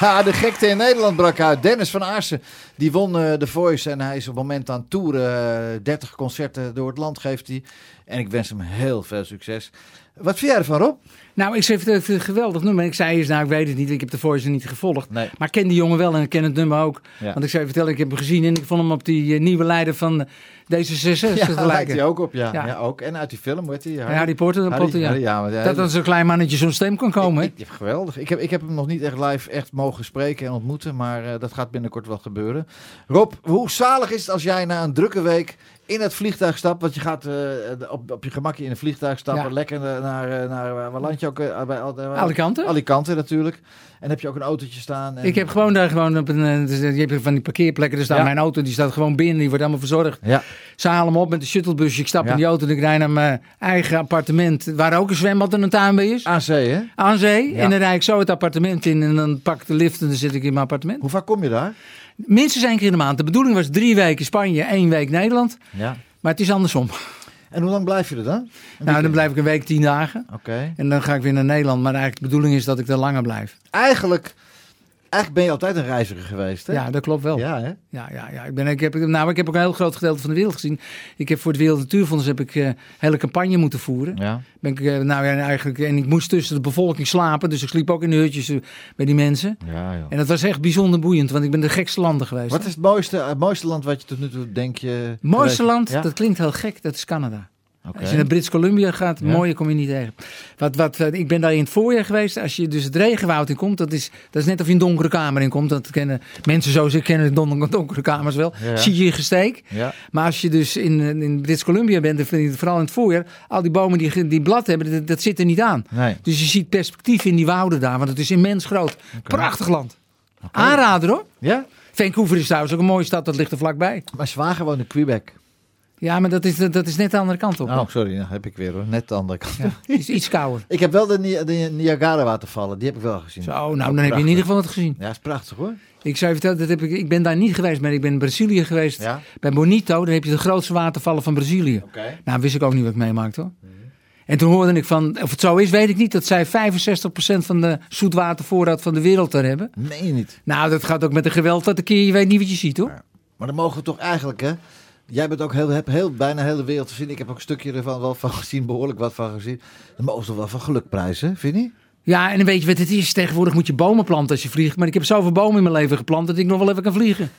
[SPEAKER 2] Ja, de gekte in Nederland brak uit. Dennis van Aarsen, die won eh, The Voice en hij is op het moment aan toeren. eh, 30 concerten door het land geeft hij. En ik wens hem heel veel succes. Wat vind jij ervan, Rob?
[SPEAKER 6] Nou, ik schreef het een geweldig nummer. Ik zei eens, nou, ik weet het niet. Ik heb de Voice niet gevolgd. Maar ik ken die jongen wel en ik ken het nummer ook.
[SPEAKER 2] Ja.
[SPEAKER 6] Want ik zou je vertellen, ik heb hem gezien en ik vond hem op die eh, nieuwe leider van deze 66
[SPEAKER 2] ja, lijkt hij ook op, ja. ja.
[SPEAKER 6] Ja.
[SPEAKER 2] ook. En uit die film, hoe heet die?
[SPEAKER 6] Ja, Harry Potter, dat Potter, ja.
[SPEAKER 2] maar-
[SPEAKER 6] Dat dan zo'n klein mannetje zo'n stem kan komen. hè?
[SPEAKER 2] Ik- geweldig. Ik heb, ik heb hem nog niet echt live echt mogen spreken en ontmoeten, maar eh, dat gaat binnenkort wel gebeuren. Rob, hoe zalig is het als jij na een drukke week in het vliegtuig stapt? Want je gaat eh, op, op je gemakje in een vliegtuig stappen,
[SPEAKER 6] Ja.
[SPEAKER 2] lekker eh, naar, eh, naar, eh, waar land je ook? eh, bij, al- eh,
[SPEAKER 6] Alicante.
[SPEAKER 2] Alicante natuurlijk. En heb je ook een autootje staan. En,
[SPEAKER 6] Ik heb gewoon daar gewoon op een. eh, dus, eh, Je hebt van die parkeerplekken. Er staat
[SPEAKER 2] Ja.
[SPEAKER 6] mijn auto, die staat gewoon binnen. Die wordt allemaal verzorgd.
[SPEAKER 2] Ja.
[SPEAKER 6] Ze halen me op met de shuttlebusje. Ik stap
[SPEAKER 2] Ja.
[SPEAKER 6] in die auto en ik rijd naar mijn eigen appartement. Waar ook een zwembad en een tuin bij is.
[SPEAKER 2] Aan zee, hè?
[SPEAKER 6] Aan zee.
[SPEAKER 2] Ja.
[SPEAKER 6] En dan rijd ik zo het appartement in. En dan pak ik de lift en dan zit ik in mijn appartement.
[SPEAKER 2] Hoe vaak kom je daar?
[SPEAKER 6] Minstens één keer in de maand. De bedoeling was drie weken Spanje, één week Nederland.
[SPEAKER 2] Ja.
[SPEAKER 6] Maar het is andersom.
[SPEAKER 2] En hoe lang blijf je er dan? Een
[SPEAKER 6] Nou, dan
[SPEAKER 2] weekend?
[SPEAKER 6] blijf ik een week, tien dagen.
[SPEAKER 2] Oké.
[SPEAKER 6] En dan ga ik weer naar Nederland. Maar eigenlijk de bedoeling is dat ik daar langer blijf.
[SPEAKER 2] Eigenlijk, eigenlijk ben je altijd een reiziger geweest, hè?
[SPEAKER 6] Ja, dat klopt wel.
[SPEAKER 2] Ja, hè?
[SPEAKER 6] Ja, ja, ja. Ik, ben, ik, heb, nou, ik heb ook een heel groot gedeelte van de wereld gezien. Ik heb voor het Wereld Natuurfonds heb ik eh, een hele campagne moeten voeren.
[SPEAKER 2] Ja.
[SPEAKER 6] Ben ik, eh, nou, ja, eigenlijk, en ik moest tussen de bevolking slapen, dus ik sliep ook in de hutjes eh, bij die mensen.
[SPEAKER 2] Ja, joh.
[SPEAKER 6] En dat was echt bijzonder boeiend, want ik ben de gekste landen geweest.
[SPEAKER 2] Wat is het mooiste, het mooiste land wat je tot nu toe denk je...
[SPEAKER 6] Het mooiste
[SPEAKER 2] geweest-
[SPEAKER 6] land,
[SPEAKER 2] Ja?
[SPEAKER 6] dat klinkt heel gek, dat is Canada.
[SPEAKER 2] Oké.
[SPEAKER 6] Als je naar Brits Columbia gaat,
[SPEAKER 2] Ja.
[SPEAKER 6] mooie kom je niet tegen. Wat, wat, eh, ik ben daar in het voorjaar geweest. Als je dus het regenwoud in komt, dat is, dat is net of je een donkere kamer in komt. Dat kennen mensen zo, ze kennen de don- donkere kamers wel.
[SPEAKER 2] Ja, ja.
[SPEAKER 6] Zie je je gesteek.
[SPEAKER 2] Ja.
[SPEAKER 6] Maar als je dus in, eh, in Brits Columbia bent, en vooral in het voorjaar, al die bomen die, ge- die blad hebben, dat, dat zit er niet aan.
[SPEAKER 2] Nee.
[SPEAKER 6] Dus je ziet perspectief in die wouden daar, want het is immens groot. Prachtig land. Aanrader hoor.
[SPEAKER 2] Ja?
[SPEAKER 6] Vancouver is trouwens ook een mooie stad, dat ligt er vlakbij.
[SPEAKER 2] Mijn zwager woont in Quebec.
[SPEAKER 6] Ja, maar dat is, dat is net de andere kant op.
[SPEAKER 2] Oh, sorry, nou heb ik weer hoor. Net de andere kant.
[SPEAKER 6] Het is iets kouder.
[SPEAKER 2] Ik heb wel de, Ni- de Niagara-watervallen, die heb ik wel gezien.
[SPEAKER 6] Zo, nou, dan heb je in ieder geval wat gezien.
[SPEAKER 2] Ja, is prachtig hoor.
[SPEAKER 6] Ik zou je vertellen, dat heb ik, ik ben daar niet geweest, maar ik ben in Brazilië geweest.
[SPEAKER 2] Ja?
[SPEAKER 6] Bij Bonito, daar heb je de grootste watervallen van Brazilië.
[SPEAKER 2] Oké. Mhm.
[SPEAKER 6] Nou, wist ik ook niet wat ik meemaakte hoor. En toen hoorde ik van, of het zo is, weet ik niet, dat zij 65% van de zoetwatervoorraad van de wereld daar hebben.
[SPEAKER 2] Meen je niet.
[SPEAKER 6] Nou, dat gaat ook met een geweld dat een keer, je weet niet wat je ziet hoor.
[SPEAKER 2] Maar dan mogen we toch eigenlijk, hè? Jij bent ook heel, heb heel, bijna de hele wereld gezien. Ik heb ook een stukje ervan wel van gezien, behoorlijk wat van gezien. Dan mogen ze toch wel van geluk prijzen, vind je? niet?
[SPEAKER 6] Ja, en dan weet je wat het is. Tegenwoordig moet je bomen planten als je vliegt. Maar ik heb zoveel bomen in mijn leven geplant dat ik nog wel even kan vliegen.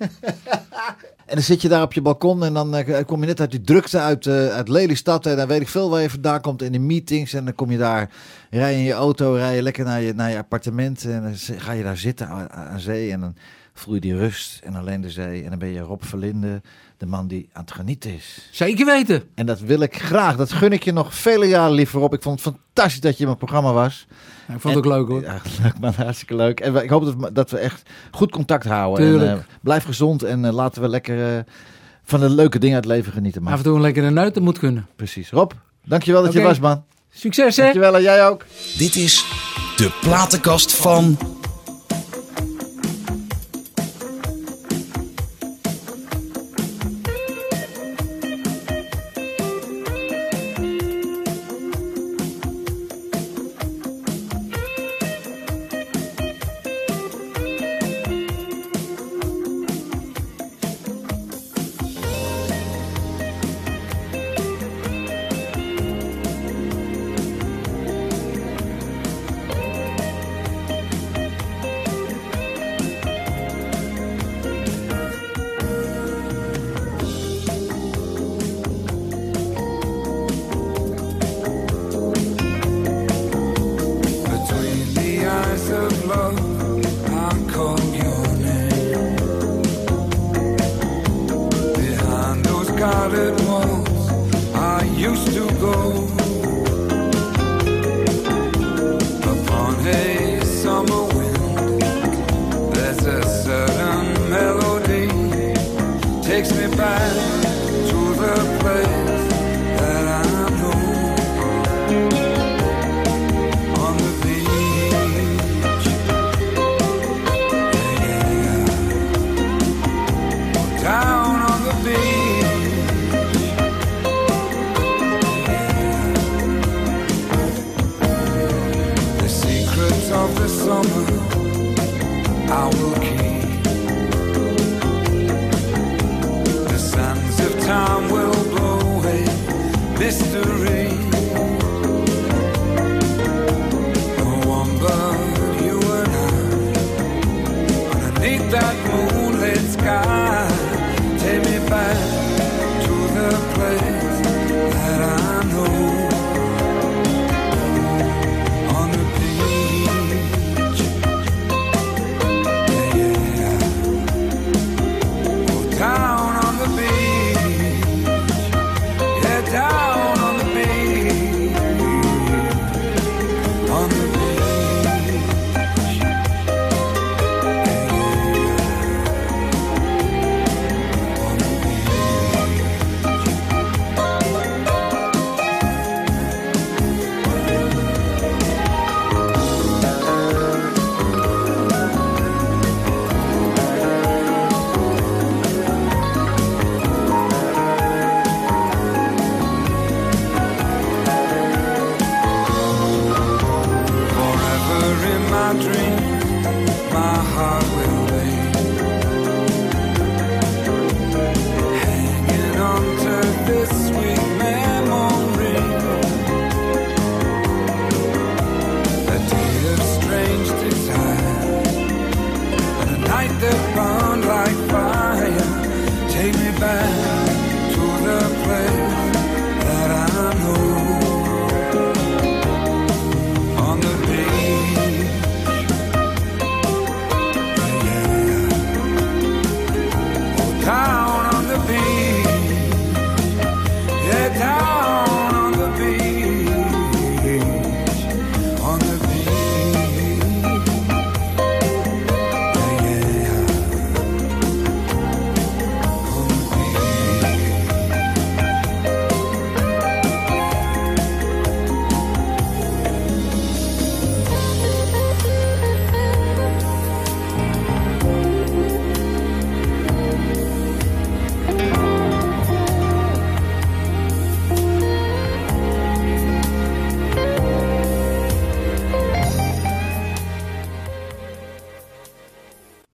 [SPEAKER 2] En dan zit je daar op je balkon en dan eh, kom je net uit die drukte uit, eh, uit Lelystad. En dan weet ik veel waar je vandaan komt in de meetings. En dan kom je daar, rij je in je auto, rij je lekker naar je, naar je appartement. En dan z- ga je daar zitten aan, aan zee. En dan voel je die rust en alleen de zee. En dan ben je Rob Verlinde, de man die aan het genieten is.
[SPEAKER 6] Zeker weten. Nou,
[SPEAKER 2] En dat wil ik graag. Dat gun ik je nog vele jaren liever op. Ik vond het fantastisch dat je in mijn programma was.
[SPEAKER 6] Ja, ik vond het ook leuk hoor.
[SPEAKER 2] Ja, leuk man, hartstikke leuk. En we- ik hoop dat we, dat we echt goed contact houden.
[SPEAKER 6] Tuurlijk.
[SPEAKER 2] En, eh, blijf gezond en eh, laten we lekker eh, van de leuke dingen uit het leven genieten. Man.
[SPEAKER 6] Af en toe een lekkere neut, dat moet kunnen.
[SPEAKER 2] Precies. Rob, dankjewel dat je
[SPEAKER 6] Oké.
[SPEAKER 2] was man.
[SPEAKER 6] Succes hè!
[SPEAKER 2] Dankjewel en jij ook.
[SPEAKER 1] Dit is de platenkast van.
[SPEAKER 13] Between the eyes of love, I call your name. Behind those guarded walls, I used to go. Upon a summer wind, there's a certain melody takes me back to the place that I know. On the beach, yeah. Down on the beach, yeah. The secrets of the summer I will keep. The sands of time will blow away mystery. No one but you and I Underneath that moonlit sky Take me back to the place that I know On the beach Yeah, yeah Oh, down on the beach Yeah, down on the beach On the Forever in my dreams, my
[SPEAKER 1] Oh,
[SPEAKER 13] heart